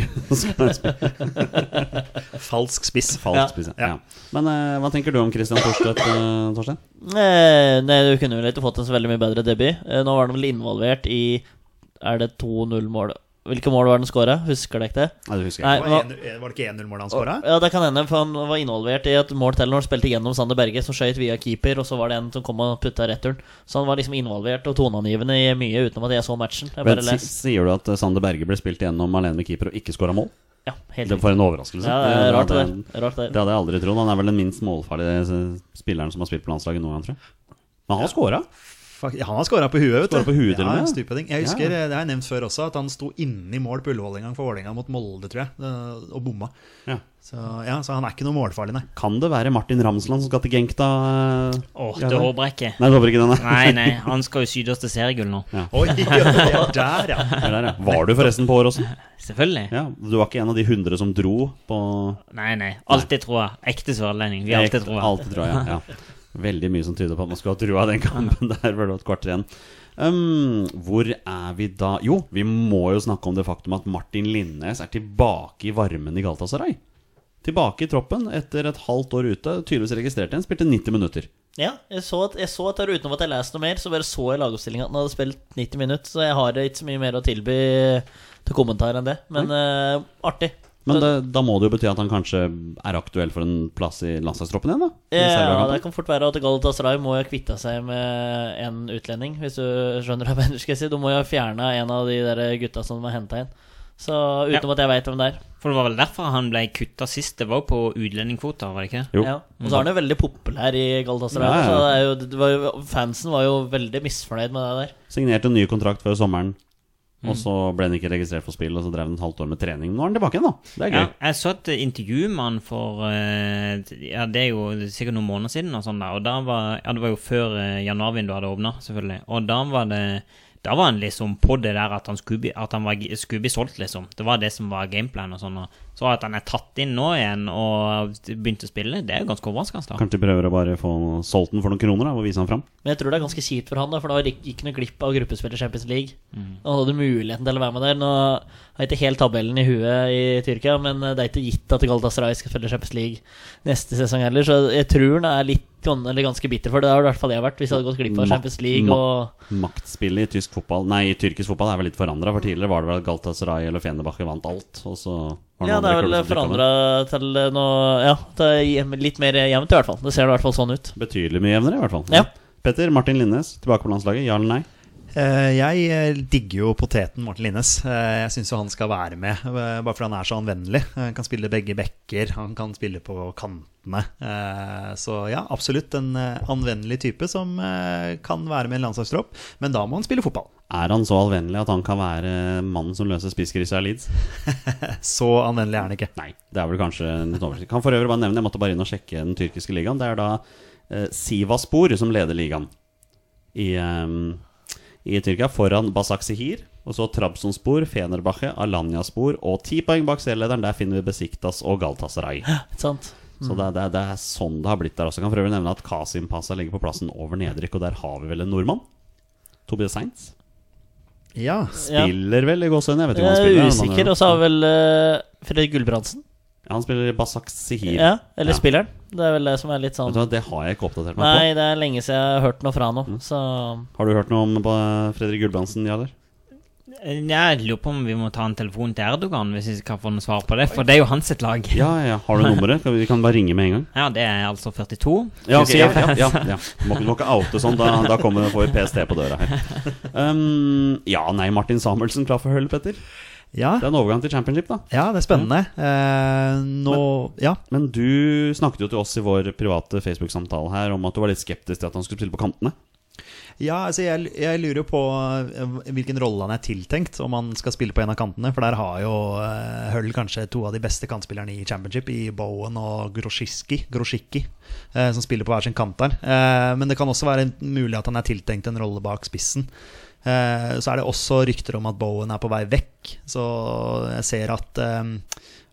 S2: Falsk spiss.
S1: falsk spiss, ja. ja. Men eh, hva tenker du om Christian Thorstvedt, eh, Torstein?
S4: Eh, Nei, du kunne vel ikke fått en så veldig mye bedre debut. Eh, Nå var han vel involvert i Er det 2-0-mål? Hvilke mål var det han skåra? Husker dere ikke det?
S1: Nei, det husker jeg
S4: Nei,
S1: ikke.
S2: Var
S4: men-
S2: det 1-0 var det ikke 1-0-målet han skåra?
S4: Ja, det kan hende, for han var involvert i et mål til når han spilte gjennom Sander Berge, som skøyt via keeper, og så var det en som kom og putta returen. Så han var liksom involvert og toneangivende i mye utenom at jeg så matchen. Jeg bare
S1: Men, si-
S4: les.
S1: sier du at eh, Sander Berge ble spilt igjennom alene med keeper og ikke skåra mål?
S4: Ja, helt
S1: Det
S4: riktig.
S1: var en overraskelse.
S4: Ja, det er rart det
S1: hadde-
S4: der. Rart det
S1: Det
S4: der.
S1: hadde jeg aldri trodd. Han er vel den minst målfarlige eh, spilleren som har spilt på landslaget noen gang, tror jeg. Men han har scora.
S2: Fakt- Ja, han har skåra på huet, vet du.
S1: Skåret på huet til og
S2: ja,
S1: med.
S2: stupheading. Jeg
S1: Ja.
S2: husker, eh, det har jeg nevnt før også, at han sto inne i mål på Ullevål en gang for Vålerenga mot Molde, tror jeg, eh, og bomma.
S1: Ja.
S2: Så, ja, så han er ikke noe målfarlig, nei.
S1: Kan det være Martin Ramsland som skal til Genk, da? eh?
S3: Åh,
S1: Ja,
S3: det
S1: det-
S3: håper jeg ikke.
S1: Nei, det håper ikke den, nei.
S3: Nei, nei, han skal jo sydes til seriegull nå.
S2: Oi, ja, det er der, ja.
S1: Det er Der, ja. Var du forresten på Åråsen?
S3: Selvfølgelig.
S1: Ja, du var ikke en av de hundre som dro på
S3: Nei, nei. Alltid troa. Ekte sørlending. Vi har alltid troa.
S1: Alltid troa, ja. ja. Veldig mye som tyder på at man skulle ha trua den kampen der, var det et kvarter igjen. Um, hvor er vi da Jo, vi må jo snakke om det faktum at Martin Linnes er tilbake i varmen i Galatasaray. Tilbake i troppen etter et halvt år ute. Tydeligvis registrert igjen. Spilte 90 minutter.
S4: Ja, jeg så at, jeg så at der utenom at jeg leste noe mer, så bare så jeg lagoppstillinga at den hadde spilt 90 minutter, så jeg har ikke så mye mer å tilby til kommentar enn det. Men eh, artig.
S1: Men det, da må det jo bety at han kanskje er aktuell for en plass i landslagstroppen igjen, da? I
S4: Ja,
S1: reservekampen.
S4: det kan fort være at Galatasaray må jo kvitte seg med en utlending, hvis du skjønner hva jeg skal si. Du må jo fjerne en av de der gutta som de har henta inn. Så utenom at jeg veit hvem det er.
S3: For det var vel derfor han ble kutta sist. Det var jo på utlendingkvoter, var det ikke?
S1: Jo.
S4: Ja. Og så er han jo veldig populær i Galatasaray.
S1: Ja, ja, ja.
S4: Så det er jo, det var jo, fansen var jo veldig misfornøyd med det der.
S1: Signerte en ny kontrakt før sommeren. Og
S4: Mm.
S1: så ble han ikke registrert for spill, og så drev han et halvt år med trening. Nå er han tilbake igjen, da. Det er gøy.
S3: Ja, jeg så et intervju med han for eh, Ja, det er jo sikkert noen måneder siden. Og sånn da, og da var, ja, det var jo før eh, januarvinduet hadde åpna, selvfølgelig. Og da var det da var han liksom på det der at han skulle bli, at han var, skulle bli solgt, liksom. Det var det som var gameplan og sånn. Og så at han er tatt inn nå igjen og begynte å spille, det er jo ganske overraskende. da.
S1: Kanskje de prøver å bare få solgt den for noen kroner da, og vise han fram.
S4: Men jeg tror det er ganske kjipt for han, da, for da gikk gikk han jo glipp av gruppespill i Champions League.
S1: Mm.
S4: Han hadde muligheten til å være med der. Nå har jeg ikke helt tabellen i huet i Tyrkia, men eh, det er ikke gitt at Galatasaray skal spille Champions League neste sesong heller, så jeg tror han er litt gan- eller ganske bitter for det. Det har i hvert fall jeg vært, hvis jeg hadde gått glipp av
S1: Ma-
S4: Champions League
S1: ma-
S4: og
S1: Maktspillet i tysk fotball Nei, i tyrkisk fotball er vel litt forandra. For tidligere var det vel at Galatasaray eller Fenerbahçe vant alt. Og så var noen
S4: Ja, det
S1: andre
S4: er vel
S1: klubber som trykket
S4: forandra til noe Ja, det er jevn- litt mer jevnt, i hvert fall. Det ser i hvert fall sånn ut.
S1: det. Betydelig mye jevnere, i hvert fall.
S4: Ja.
S1: Petter Martin Linnes, tilbake på landslaget. Ja eller nei?
S2: Eh, Jeg eh, digger jo poteten Morten Linnes. Eh, Jeg syns jo han skal være med, eh, bare fordi han er så anvendelig. Eh, Han kan spille begge bekker, han kan spille på kantene. Eh, Så ja, absolutt en eh, anvendelig type som eh, kan være med i en landslagstropp, men da må han spille fotball.
S1: Er han så alvennlig at han kan være mannen som løser spisskrisa i Leeds?
S2: Så anvendelig er han ikke.
S1: Nei, det er vel kanskje en liten overraskelse. Kan for øvrig bare nevne, jeg måtte bare inn og sjekke den tyrkiske ligaen. Det er da eh, Sivaspor som leder ligaen i, eh, i Tyrkia, foran Basak Sihir. Og så Trabzonspor, Fenerbahçe, Alanyaspor og ti poeng bak serielederen. Der finner vi Besiktas og Galtasaray.
S4: Ikke sant?
S1: Så det, er- det, er- det er sånn det har blitt der også. Kan for øvrig nevne at Kasimpasa ligger på plassen over nedrykk, og der har vi vel en nordmann? Tobias Sainz.
S2: Ja,
S4: Ja.
S1: Spiller vel i gåsehud, jeg vet ikke om han
S4: Jeg
S1: spiller.
S4: er
S1: men han er-
S4: usikker, og så har vel eh, Fredrik Gulbrandsen.
S1: Ja, han spiller i Basak Sihir.
S4: Ja, eller
S1: Ja.
S4: spilleren. Det er vel det som er litt
S1: Vet
S4: sånn
S1: du hva, det har jeg ikke oppdatert meg på.
S4: Nei, det er lenge siden jeg har hørt noe fra han nå, så
S1: Har du hørt noe om eh, Fredrik Gulbrandsen, Jader?
S3: Jeg lurer på om vi må ta en telefon til Erdogan hvis vi kan få noe svar på det, for det er jo hans sitt lag.
S1: Ja, ja. Har du nummeret? Kan vi, vi kan bare ringe med en gang.
S3: Ja, det er altså 42.
S1: Ja, ok, ja,
S3: 27.
S1: ja, ja, ja. Må, ikke- må ikke oute sånn, da, da kommer får vi PST på døra her. Um, ja, nei, Martin Samuelsen klar for høl, Petter. Det
S2: ja,
S1: er en overgang til championship, da.
S2: ja det er spennende. Eh, Nå Ja.
S1: Men du snakket jo til oss i vår private Facebook-samtale her om at du var litt skeptisk til at han skulle spille på kantene.
S2: Ja, altså jeg, jeg lurer jo på eh, hvilken rolle han er tiltenkt, om han skal spille på en av kantene. For der har jo eh, Hull kanskje to av de beste kantspillerne i championship, i Bowen og Groshiski, Groshiki, eh, som spiller på hver sin kant der. Eh, Men det kan også være mulig at han er tiltenkt en rolle bak spissen. Eh, Så er det også rykter om at Bowen er på vei vekk, så jeg ser at eh,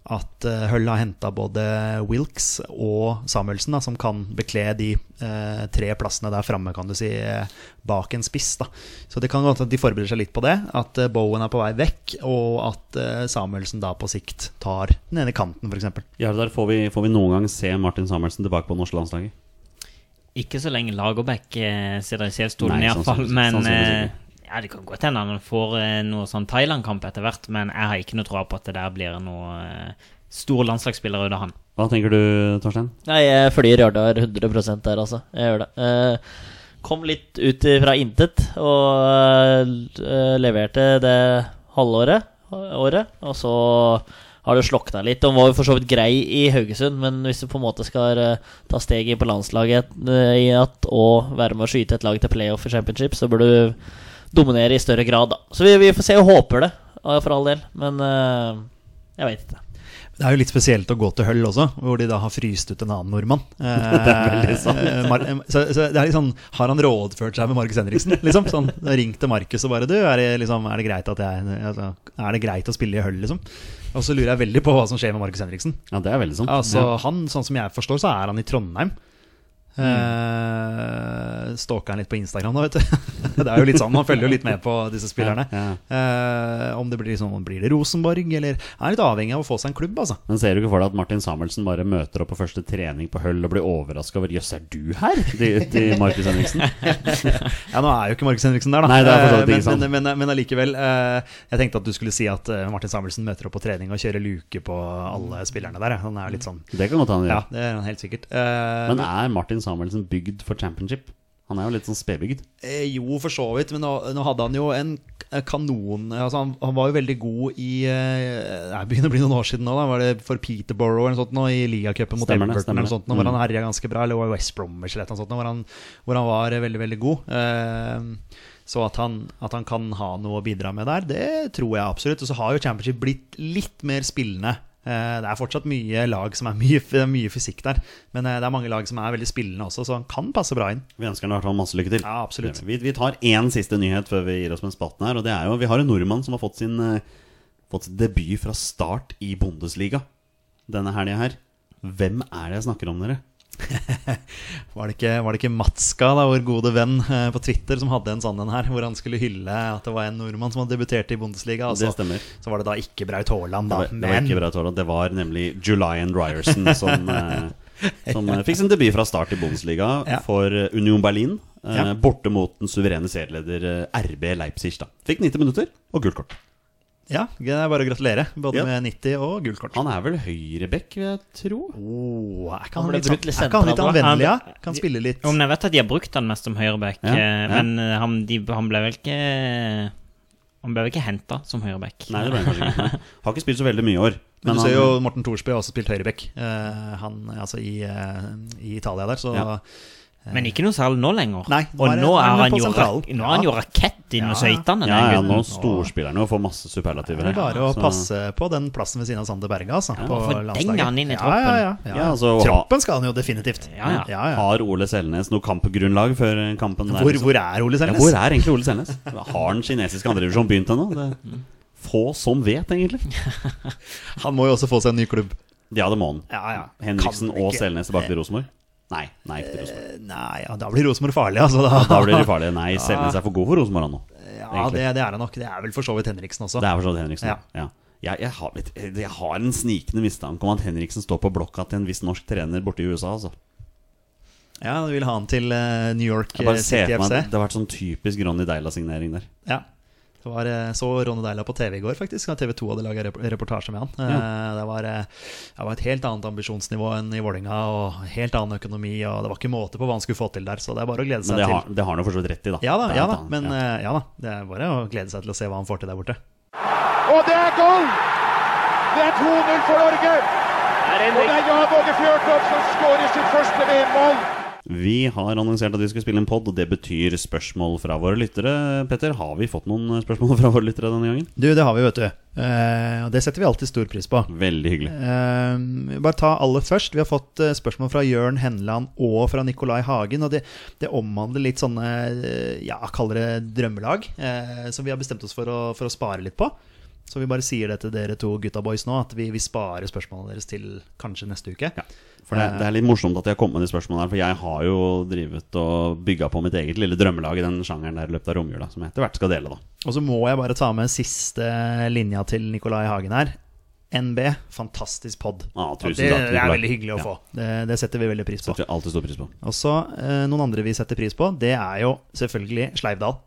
S2: at eh, Hull har henta både Wilks og Samuelsen, da, som kan bekle de eh, tre plassene der framme, kan du si, eh, bak en spiss. Da. Så det kan godt at de forbereder seg litt på det, at eh, Bowen er på vei vekk, og at eh, Samuelsen da på sikt tar den ene kanten, f.eks.
S1: Jardar, får vi, får vi noen gang se Martin Samuelsen tilbake på det norske landslaget?
S3: Ikke så lenge Lagerbäck eh, sitter
S1: Nei,
S3: i
S1: sånn
S3: sjefsstolen, iallfall.
S1: sannsynligvis-
S3: Men
S1: sannsynligvis
S3: eh, ja, det kan godt hende han får eh, noe sånn Thailand-kamp etter hvert. Men jeg har ikke noe tro på at det der blir noe eh, stor landslagsspiller ut av han.
S1: Hva tenker du, Torstein?
S4: Nei, jeg flyr Jardar 100 der, altså. Jeg gjør det. Eh, kom litt ut fra intet og eh, leverte det halvåret, året, og så har det slokna litt. Han var jo for så vidt grei i Haugesund, men hvis du på en måte skal eh, ta steget inn på landslaget eh, i at, og være med å skyte et lag til playoff i championship, så bør du dominere i større grad, da. Så vi, vi får se, og håper det, eh, for all del. Men eh, jeg veit ikke.
S2: Det er jo litt spesielt å gå til Hull også, hvor de da har fryst ut en annen nordmann. Eh, det er veldig sant. så, så det er litt sånn, Har han rådført seg med Markus Henriksen? Liksom? Sånn, ringt til Markus og bare Du, er det, liksom, er, det greit at jeg, altså, er det greit å spille i Hull, liksom? Og så lurer jeg veldig på hva som skjer med Markus Henriksen.
S1: Ja, det er veldig sant.
S2: Altså,
S1: Ja.
S2: han, sånn som jeg forstår, så er han i Trondheim. Mm. Stalker han litt på Instagram, da, vet du. det er jo litt sånn, Man følger jo litt med på disse spillerne.
S1: Ja, ja.
S2: Eh, om det blir, liksom, blir det Rosenborg, eller Han er litt avhengig av å få seg en klubb, altså.
S1: Men ser du ikke for deg at Martin Samuelsen bare møter opp på første trening på Høll og blir overraska over 'jøss, er du her?' til, til Markus Henriksen?
S2: Ja, Nå er jo ikke Markus Henriksen der, da.
S1: Nei, det er for så vidt
S2: Eh, men,
S1: ikke sant.
S2: men, men, men allikevel. eh, jeg tenkte at du skulle si at eh, Martin Samuelsen møter opp på trening og kjører luke på alle spillerne der. ja. Han er jo litt sånn
S1: Det kan godt hende.
S2: Ja,
S1: Mm. Ja.
S2: det er han helt sikkert. Eh,
S1: Men er Martin Samuelsen bygd for championship? Han er jo litt sånn spedbygd.
S2: Eh, Jo, for så vidt, men nå, nå hadde han jo en k- kanon altså han, han var jo veldig god i eh, Det begynner å bli noen år siden nå, da. Var det for Peterborough eller noe sånt nå, i ligacupen mot
S1: Stemmer det,
S2: Everton
S1: stemmer det.
S2: eller noe
S1: Mm.
S2: sånt, nå, hvor han herja ganske bra, eller var det West Bromwich eller et eller annet sånt, nå, hvor han, hvor han var eh, veldig, veldig god. Eh, Så at han, at han kan ha noe å bidra med der, det tror jeg absolutt. Og så har jo Championship blitt litt mer spillende. Eh, Det er fortsatt mye lag som er mye, det er mye fysikk der, men eh, det er mange lag som er veldig spillende også, så han kan passe bra inn.
S1: Vi ønsker ham i hvert fall masse lykke til.
S2: Ja, absolutt.
S1: Vi, vi tar én siste nyhet før vi gir oss med spalten her. Og det er jo, Vi har en nordmann som har fått sin, eh, fått sin debut fra start i Bundesliga denne helga her. Hvem er det jeg snakker om, dere?
S2: Var det ikke, var det ikke Matska, da, vår gode venn eh, på Twitter, som hadde en sånn en her, hvor han skulle hylle at det var en nordmann som hadde debutert i Bundesliga? Og
S1: Det
S2: så,
S1: stemmer.
S2: så var det da ikke Braut
S1: Det
S2: Haaland, da.
S1: var, det var ikke
S2: Men
S1: Braut Haaland, det var nemlig Julian Ryerson som, eh, som eh, fikk sin debut fra start i Bundesliga
S2: Ja.
S1: for eh, Union Berlin. eh,
S2: Ja.
S1: Borte mot den suverene serieleder eh, RB Leipzig. da Fikk 90 minutter og gult kort.
S2: ja, det er bare å gratulere, både
S1: Ja.
S2: med 90 og gult kort.
S1: Han er vel høyrebekk, vil jeg tro.
S2: Oh, er ikke
S4: Han
S2: han,
S4: ble
S2: litt sånn-
S4: brukt litt
S2: er ikke han litt
S4: sentral, da?
S2: anvendelig, ja?
S3: Han-
S2: Kan spille litt
S3: Jo, men jeg vet at de har brukt han mest som høyreback,
S1: Ja,
S3: eh,
S1: ja.
S3: men eh, han, de, han ble vel ikke Han ble vel ikke henta som høyreback.
S1: Nei, det ble han kanskje ikke. Nei. Har ikke spilt så veldig mye i år.
S2: Men du
S1: han-
S2: ser jo Morten Thorsby har også spilt høyreback eh, Han, altså i, eh, i Italia der, så
S1: Ja.
S3: Men ikke noe særlig nå lenger.
S2: Nei,
S3: og
S2: nå er det-
S3: nå
S2: nå er
S3: er
S2: han
S3: han
S2: på
S3: jo,
S2: sentralen.
S3: rak- nå er han jo rakett inn
S2: Ja.
S3: i skøytene.
S1: Ja,
S3: den
S1: ja,
S3: gutten.
S1: nå
S2: gutten.
S1: storspiller han jo og får masse superlativer.
S2: han klarer å
S1: Så-
S2: passe på den plassen ved siden av Sander Berge, altså. på
S3: for denger
S2: landslaget.
S3: han inn i
S2: Ja,
S3: troppen.
S2: ja, ja, ja.
S1: Ja, altså, og ha-
S2: troppen skal han jo definitivt.
S3: Ja, ja.
S1: Har Ole Selnes noe kampgrunnlag før kampen? der,
S2: Hvor,
S1: liksom?
S2: hvor er Ole
S1: Ja,
S2: Selnes?
S1: hvor er egentlig Ole Selnes? Har den kinesiske andredivisjonen begynt ennå? Det er få som vet, egentlig.
S2: Han må jo også få seg en ny klubb.
S1: Ja, det må han.
S2: Ja, ja.
S1: Henriksen
S2: Kan
S1: og
S2: ikke-
S1: Selnes tilbake til Rosenborg? Nei, nei, ikke til Rosenborg.
S2: Eh, Nei, ja, da blir Rosenborg farlig, altså. Da.
S1: Da blir det farlig. Nei, Selnes er for god for Rosenborg han nå.
S2: ja, det, det er han nok. Det er vel for så vidt Henriksen også.
S1: Det er for så vidt Henriksen.
S2: Ja.
S1: Ja. Jeg, jeg, har, vet, jeg har en snikende mistanke om at Henriksen står på blokka til en viss norsk trener borte i USA. Altså.
S2: Ja, du vil ha han til eh, New York
S1: Jeg bare
S2: eh,
S1: ser
S2: City
S1: for meg
S2: FC.
S1: at Det har vært sånn typisk Ronny Deila-signering der.
S2: Ja. Det var, eh, så Ronny Deila på TV i går, faktisk. TV 2 hadde laga reportasje med han. Eh, Det, var, eh, det var et helt annet ambisjonsnivå enn i Vålerenga, og helt annen økonomi, og det var ikke måte på hva han skulle få til der, så det er bare å glede seg
S1: Men det
S2: til.
S1: har, det har han jo for så vidt rett i, da.
S2: Ja da,
S1: Det er
S2: ja
S1: et
S2: da,
S1: annet-
S2: men
S1: ja.
S2: eh, ja da. Det er bare å glede seg til å se hva han får til der borte.
S5: Og det er goal! Det er 2-0 for Norge. Og det er Jan Åge Fjørtoft som skårer sitt første VM-mål.
S1: Vi har annonsert at vi skal spille en pod, og det betyr spørsmål fra våre lyttere. Petter, har vi fått noen eh, spørsmål fra våre lyttere denne gangen?
S2: Du, det har vi, vet du. Eh, Og det setter vi alltid stor pris på.
S1: Veldig hyggelig.
S2: Eh, vi bare ta alle først. Vi har fått eh, spørsmål fra Jørn Henland og fra Nicolai Hagen. Og det, det omhandler litt sånne eh, ja, kaller det drømmelag, eh, som vi har bestemt oss for å, for å spare litt på. Så vi bare sier det til dere to gutta boys nå, at vi, vi sparer spørsmålene deres til kanskje neste uke. Eh,
S1: Ja. For det, det er litt morsomt at jeg har kommet med de spørsmålene her, for jeg har jo drivet og bygga på mitt eget lille drømmelag i den sjangeren der i løpet av romjula, som jeg etter hvert skal dele, da.
S2: Og så må jeg bare ta med siste linja til Nicolai Hagen her. NB, fantastisk pod.
S1: Ah,
S2: Og
S1: tusen
S2: det,
S1: takk,
S2: det er
S1: Nicolai.
S2: veldig hyggelig å
S1: Ja.
S2: få. Det, det setter vi veldig pris på.
S1: Setter vi alltid stor pris på.
S2: Og så eh, noen andre vi setter pris på, det er jo selvfølgelig Sleivdal.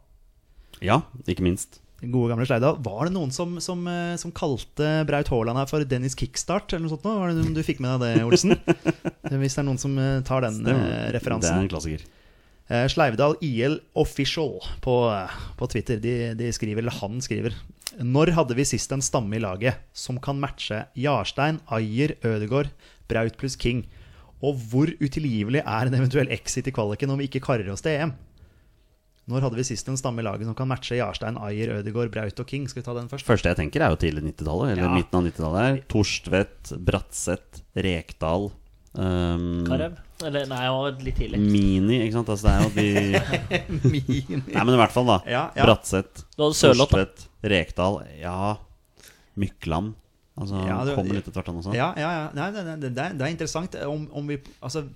S1: Ja, ikke minst.
S2: Den gode gamle Sleivdal. Var det noen som, som, eh, som kalte Braut Haaland her for Dennis Kickstart, eller noe sånt? nå? Var det noen du fikk med deg det, Olsen? Hvis det er noen som eh, tar den
S1: Det,
S2: eh,
S1: det
S2: referansen.
S1: er en klassiker.
S2: Eh, Sleivdal IL Official på, eh, på Twitter. De, de skriver, eller han skriver Når hadde vi sist en stamme i laget som kan matche Jarstein, Ayer, Ødegaard, Braut pluss King? Og hvor utilgivelig er en eventuell exit i kvaliken om vi ikke karrer oss til EM? Når hadde vi sist en stamme i laget som kan matche Jarstein, Ayer, Ødegaard, Braut og King? Skal vi ta den først?
S1: Første jeg tenker, er jo tidlig 90-tallet, eller
S2: Ja.
S1: midten av 90-tallet. her. Torstvedt, Bratseth, Rekdal. Um,
S4: Karev? Eller, nei, han var litt
S1: Mm.
S4: tidlig.
S1: Mini, ikke sant. Altså, det er jo de Nei, men i hvert fall, da.
S2: Ja, ja.
S1: Bratseth,
S4: Du hadde Sørloth, da.
S1: Torstvedt, Rekdal. Ja, Mykland. Altså,
S2: Ja, det-
S1: kommer litt etter hvert, han også.
S2: Ja, ja, ja. Nei, det, det, det, er- det er interessant om, om vi Altså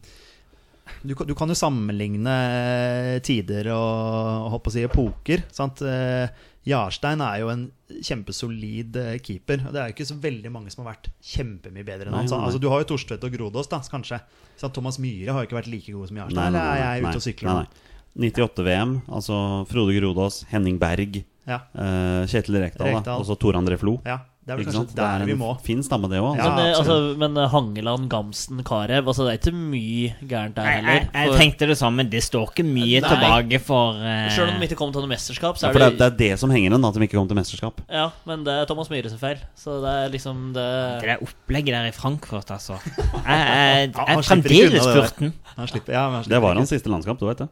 S2: du kan, du kan jo sammenligne eh, tider og holdt på å si epoker. Sant? Eh, Jarstein er jo en kjempesolid eh, keeper. Og det er jo ikke så veldig mange som har vært kjempemye bedre enn
S1: Nei,
S2: han. sant?
S1: nei.
S2: Altså, du har jo Torstvedt og Grodås, da, kanskje. Sant? Thomas Myhre har jo ikke vært like god som
S1: Nei, nei,
S2: Jarstein.
S1: nei,
S2: Eller er jeg
S1: nei,
S2: ute og sykler
S1: nei,
S2: nå?
S1: nei. 98-VM, altså Frode Grodås, Henning Berg,
S2: Ja,
S1: eh, Kjetil Rekdal, da,
S2: Rekdal.
S1: og så Tor André Flo.
S2: ja. Det er vel
S1: Ikke
S2: kanskje
S1: sant? Det
S2: der
S1: er
S2: vi
S1: en
S2: må.
S1: Fin stamme, det òg.
S2: Ja,
S4: men, eh, altså,
S2: absolutt.
S4: men Hangeland, Gamsten, Karev altså, Det er ikke mye gærent der
S3: Jeg, jeg,
S4: heller.
S3: jeg tenkte det samme. Det står ikke mye
S4: Nei.
S3: tilbake for eh,
S4: Sjøl om de ikke kom til noe mesterskap, så
S1: Ja,
S4: er
S1: for det,
S4: det,
S1: er- det er det som henger igjen, at de ikke kom til mesterskap.
S4: Ja, men det er Thomas Myhre sin feil. Så det er liksom det
S3: Det der opplegget der i Frankfurt, altså. Jeg, jeg,
S2: Ja,
S3: jeg
S2: han slipper ikke
S3: fremdeles
S2: unna det der.
S3: spurten.
S2: Han slipper, ja, men han
S1: Det
S2: slipper
S1: var
S2: ikke.
S1: hans siste landskamp, du vet det.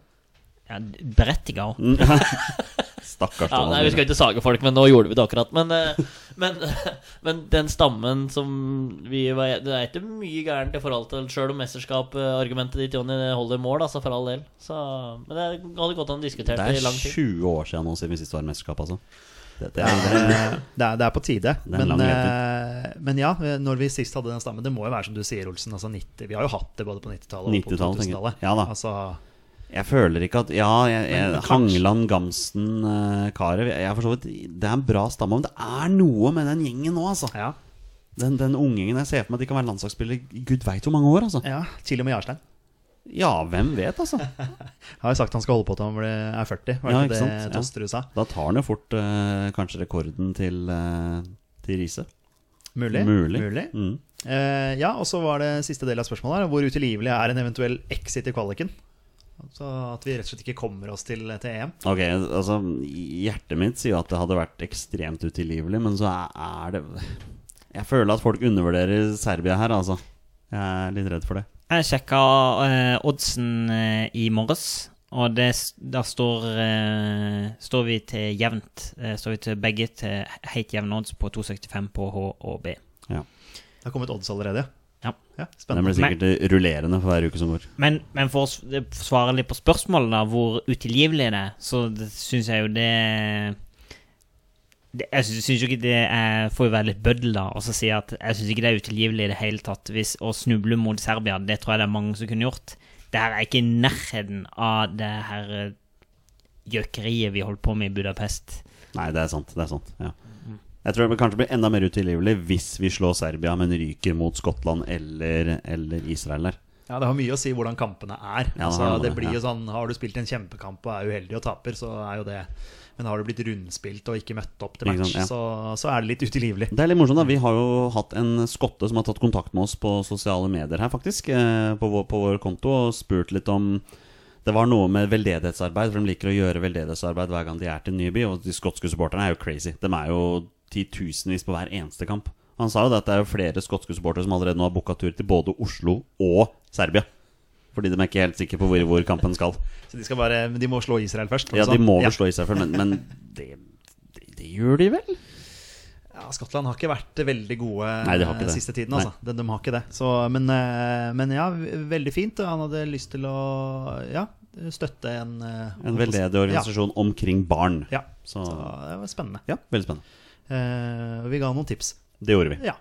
S3: Ja, Berettiga òg.
S1: Mm. Stakkars
S4: Ja,
S1: Thomas
S4: nei, Vi skal
S1: Myhre.
S4: ikke sage folk, men nå gjorde vi det akkurat. Men, eh, men, men den stammen som vi var Det er ikke mye gærent i forhold til sjøl om mesterskapargumentet ditt, Jonny, det holder mål, altså, for all del. Så, men det hadde gått an å diskutere
S1: Det
S4: det i
S1: er
S4: lang tid.
S1: 20 år siden nå siden vi sist var i mesterskap, altså. Det, det
S2: Eh,
S1: er, det er,
S2: det, er, det er på tide.
S1: Det er en
S2: Men,
S1: lang
S2: eh, men ja, når vi sist hadde den stammen Det må jo være som du sier, Olsen. Altså 90, vi har jo hatt det både på 90-tallet og på
S1: 90-tallet, tenker jeg.
S2: 2000-tallet.
S1: Ja da.
S2: Altså,
S1: jeg føler ikke at Ja, jeg, jeg,
S2: Men kanskje-
S1: Hangeland, Gamsten, uh, Karev jeg, jeg for så vidt, Det er en bra stamme, men det er noe med den gjengen nå, altså.
S2: ja.
S1: Den, den ungingen jeg ser for meg at de kan være landslagsspiller i gud veit hvor mange år, altså.
S2: ja. Til og med Jarstein.
S1: Ja, hvem vet, altså.
S2: Har jo sagt han skal holde på til han blir- er 40. Var
S1: Ja, ikke
S2: det ikke det
S1: sant? Ja.
S2: Tosterud sa?
S1: Da tar han jo fort eh, kanskje rekorden til, eh, til Riise.
S2: Mulig.
S1: Mulig.
S2: Mulig.
S1: Mm.
S2: Eh, ja, og så var det siste del av spørsmålet her. Hvor utilgivelig er en eventuell exit i kvaliken? Altså at vi rett og slett ikke kommer oss til, til EM.
S1: Ok, altså Hjertet mitt sier at det hadde vært ekstremt utilgivelig, men så er det Jeg føler at folk undervurderer Serbia her, altså. Jeg er litt redd for det.
S3: Jeg sjekka eh, oddsen eh, i morges, og det, s- da står, eh, står vi til jevnt. eh, står vi til begge til helt jevne odds på 2,75 på H og B.
S2: Det har kommet odds allerede.
S3: Ja.
S1: Den
S2: spennende.
S1: blir sikkert rullerende for hver uke som går.
S3: Men, men for å s- svare litt på spørsmålet, da, hvor utilgivelig det er, så syns jeg jo det det, jeg syns syns jo ikke det er Får jo være litt bøddel, da, og så si at jeg syns ikke det er utilgivelig i det hele tatt. Hvis å snuble mot Serbia, det tror jeg det er mange som kunne gjort. Det her er ikke i nærheten av det her eh, gjøkeriet vi holdt på med i Budapest.
S1: Nei, det er sant. det er sant, ja Jeg tror det kanskje blir enda mer utilgivelig hvis vi slår Serbia, men ryker mot Skottland eller, eller Israel der.
S2: Ja, det har mye å si hvordan kampene er.
S1: Ja, det
S2: altså,
S1: har noe,
S2: det blir
S1: ja.
S2: jo sånn, Har du spilt en kjempekamp og er uheldig og taper, så er jo det Men har du blitt rundspilt og ikke møtt opp til
S1: Ikke
S2: match,
S1: sant, ja.
S2: så, så er det litt utilgivelig.
S1: Det er litt morsomt da, Vi har jo hatt en skotte som har tatt kontakt med oss på sosiale medier her faktisk eh, på vår, på vår konto og spurt litt om Det var noe med veldedighetsarbeid, for de liker å gjøre veldedighetsarbeid hver gang de er til Nyby. Og de skotske supporterne er jo crazy. De er jo titusenvis på hver eneste kamp. Han sa jo det at det er jo flere skotske supportere som allerede nå har booka tur til både Oslo og Serbia. Fordi de er ikke helt sikre på hvor, hvor kampen skal.
S2: Så de, skal bare, de må slå Israel først.
S1: Ja,
S2: altså.
S1: De må vel
S2: Ja.
S1: slå i seg selv, men, men det, det, det gjør de vel?
S2: Ja, Skottland har ikke vært veldig gode
S1: Nei, de har ikke
S2: eh,
S1: det.
S2: siste tiden. Altså. De, de har ikke det. Så, men, eh, men ja, v- veldig fint. Han hadde lyst til å ja, støtte en eh,
S1: En veldedig organisasjon omkring barn.
S2: Ja. ja.
S1: Så
S2: Så det var spennende.
S1: ja, veldig spennende.
S2: Eh, vi ga noen tips.
S1: Det gjorde vi.
S2: Ja.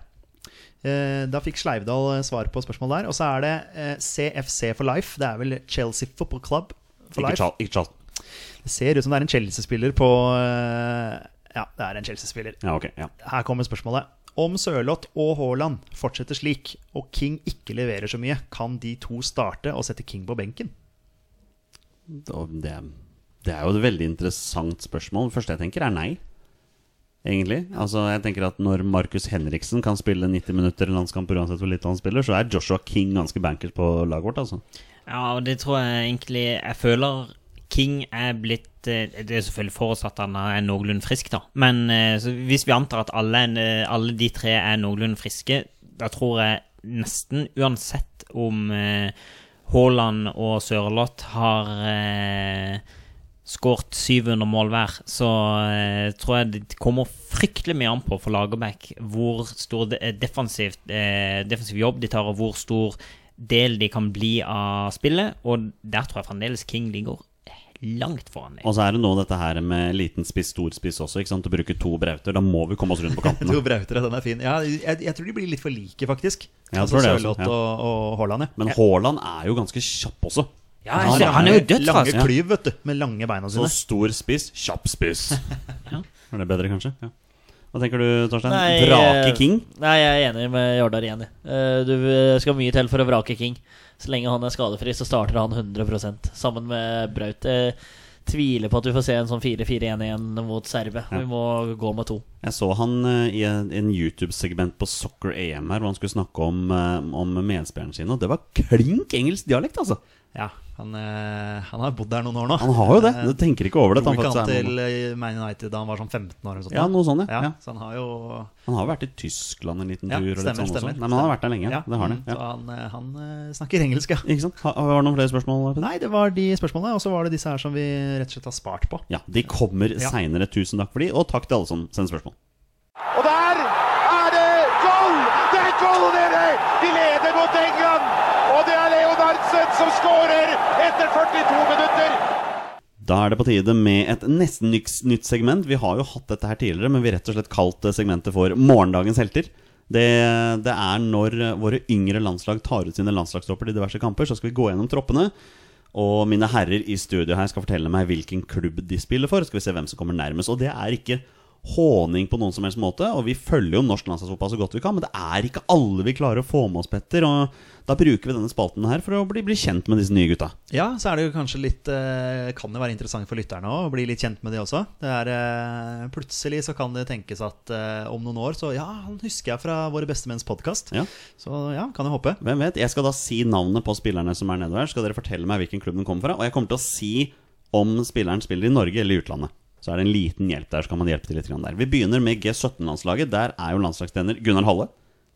S2: Eh, Da fikk Sleivdal eh, svar på spørsmål der. Og så er det eh, CFC for life. Det er vel Chelsea Football Club for
S1: Ikke
S2: life.
S1: Charl- Ikke Charlton.
S2: Det ser ut som det er en Chelsea-spiller på eh, Ja, det er en Chelsea-spiller.
S1: Ja, ok. Ja.
S2: Her kommer spørsmålet. Om Sørloth og Haaland fortsetter slik, og King ikke leverer så mye, kan de to starte og sette King på benken?
S1: Og Det, det er jo et veldig interessant spørsmål. Det første jeg tenker, er nei. Egentlig. Altså, jeg tenker at Når Markus Henriksen kan spille 90 minutter i landskamp uansett hvor lite han spiller, så er Joshua King ganske bankers på laget vårt. altså
S3: Ja, og det tror jeg egentlig Jeg føler King er blitt eh, Det er selvfølgelig forutsatt at han er noenlunde frisk, da. Men eh, så hvis vi antar at alle, eh, alle de tre er noenlunde friske, da tror jeg nesten uansett om eh, Haaland og Sørloth har eh, skåret 700 mål hver, så eh, tror jeg det kommer fryktelig mye an på for Lagerbäck hvor stor de, eh, defensivt, eh, defensiv jobb de tar, og hvor stor del de kan bli av spillet. Og der tror jeg fremdeles King ligger langt foran dem.
S1: Og så er det nå dette her med liten spiss, stor spiss også. ikke sant? Å bruke to brauter. Da må vi komme oss rundt på kantene.
S2: To brautere, den er fin. Ja, jeg, jeg tror de blir litt for like, faktisk.
S1: Ja, jeg
S2: altså
S1: tror det også,
S2: Sørloth
S1: ja.
S2: og, og Haaland, ja.
S1: Men Haaland er jo ganske kjapp også.
S3: Ja, jeg ser- han er jo
S1: altså.
S3: dødsrask.
S2: Lange klyv, vet du. Med lange beina
S1: Så
S2: sine.
S1: stor spiss, kjapp spiss.
S3: Ja.
S1: Er det bedre, kanskje? Ja. Hva tenker du, Torstein?
S4: Nei, eh,
S1: Vrake King?
S4: Nei, jeg er enig med Jardar igjen. jeg. Eh, Du eh, skal mye til for å vrake King. Så lenge han er skadefri, så starter han 100 sammen med Braut. Jeg tviler på at du får se en sånn 4-4-1-1 mot Serbe.
S1: Ja.
S4: Vi må gå med to.
S1: Jeg så han eh, i en, en YouTube-segment på Soccer AM her, hvor han skulle snakke om, eh, om medspillerne sine, og det var klink engelsk dialekt, altså.
S2: Ja, han, eh, han har bodd der noen år nå.
S1: Han har jo
S2: Eh,
S1: det! Du tenker ikke over det. at
S2: Tok
S1: Han
S2: ikke
S1: faktisk
S2: han
S1: er
S2: til
S1: nordmann.
S2: eh, Man United da han var sånn 15 år? Eller sånt,
S1: Ja, noe sånt, ja.
S2: ja.
S1: ja.
S2: Så han har jo
S1: Han har jo vært i Tyskland en liten tur.
S2: Ja,
S1: og litt
S2: stemmer,
S1: sånn også.
S2: stemmer.
S1: Nei, men han har vært der lenge.
S2: Ja.
S1: Det har han.
S2: Så
S1: Ja.
S2: han, eh, han eh, snakker engelsk, ja.
S1: Ikke sant? Har, har det noen flere spørsmål? Petter?
S2: Nei, det var de spørsmålene. Og så var det disse her som vi rett og slett har spart på.
S1: Ja, De kommer
S2: Ja.
S1: seinere. Tusen takk for de, og takk til alle som sender spørsmål.
S5: Og der er det goal! Det er goal, dere! De leder mot England. Og det er Leo Darmstedt som skårer etter 42 minutter.
S1: Da er det på tide med et nesten nytt, nytt segment. Vi har jo hatt dette her tidligere, men vi har rett og slett kalt det segmentet for Morgendagens helter. Det, det er når våre yngre landslag tar ut sine landslagstropper til diverse kamper. Så skal vi gå gjennom troppene. Og mine herrer i studio her skal fortelle meg hvilken klubb de spiller for. Skal vi se hvem som kommer nærmest. Og det er ikke håning på noen som helst måte. Og vi følger jo norsk landslagsfotball så godt vi kan, men det er ikke alle vi klarer å få med oss, Petter. Og da bruker vi denne spalten her for å bli, bli kjent med disse nye gutta.
S2: Ja, så er det jo kanskje litt eh, Kan det være interessant for lytterne også, å bli litt kjent med de også. Det er, eh, plutselig så kan det tenkes at eh, om noen år så Ja, han husker jeg fra Våre bestemenns podkast.
S1: Ja.
S2: Så ja, kan jeg håpe.
S1: Hvem vet? Jeg skal da si navnet på spillerne som er nedover her. Skal dere fortelle meg hvilken klubb den kommer fra? Og jeg kommer til å si om spilleren spiller i Norge eller i utlandet. Så er det en liten hjelp der, så kan man hjelpe til litt grann der. Vi begynner med G17-landslaget. Der er jo landslagstrener Gunnar Halle.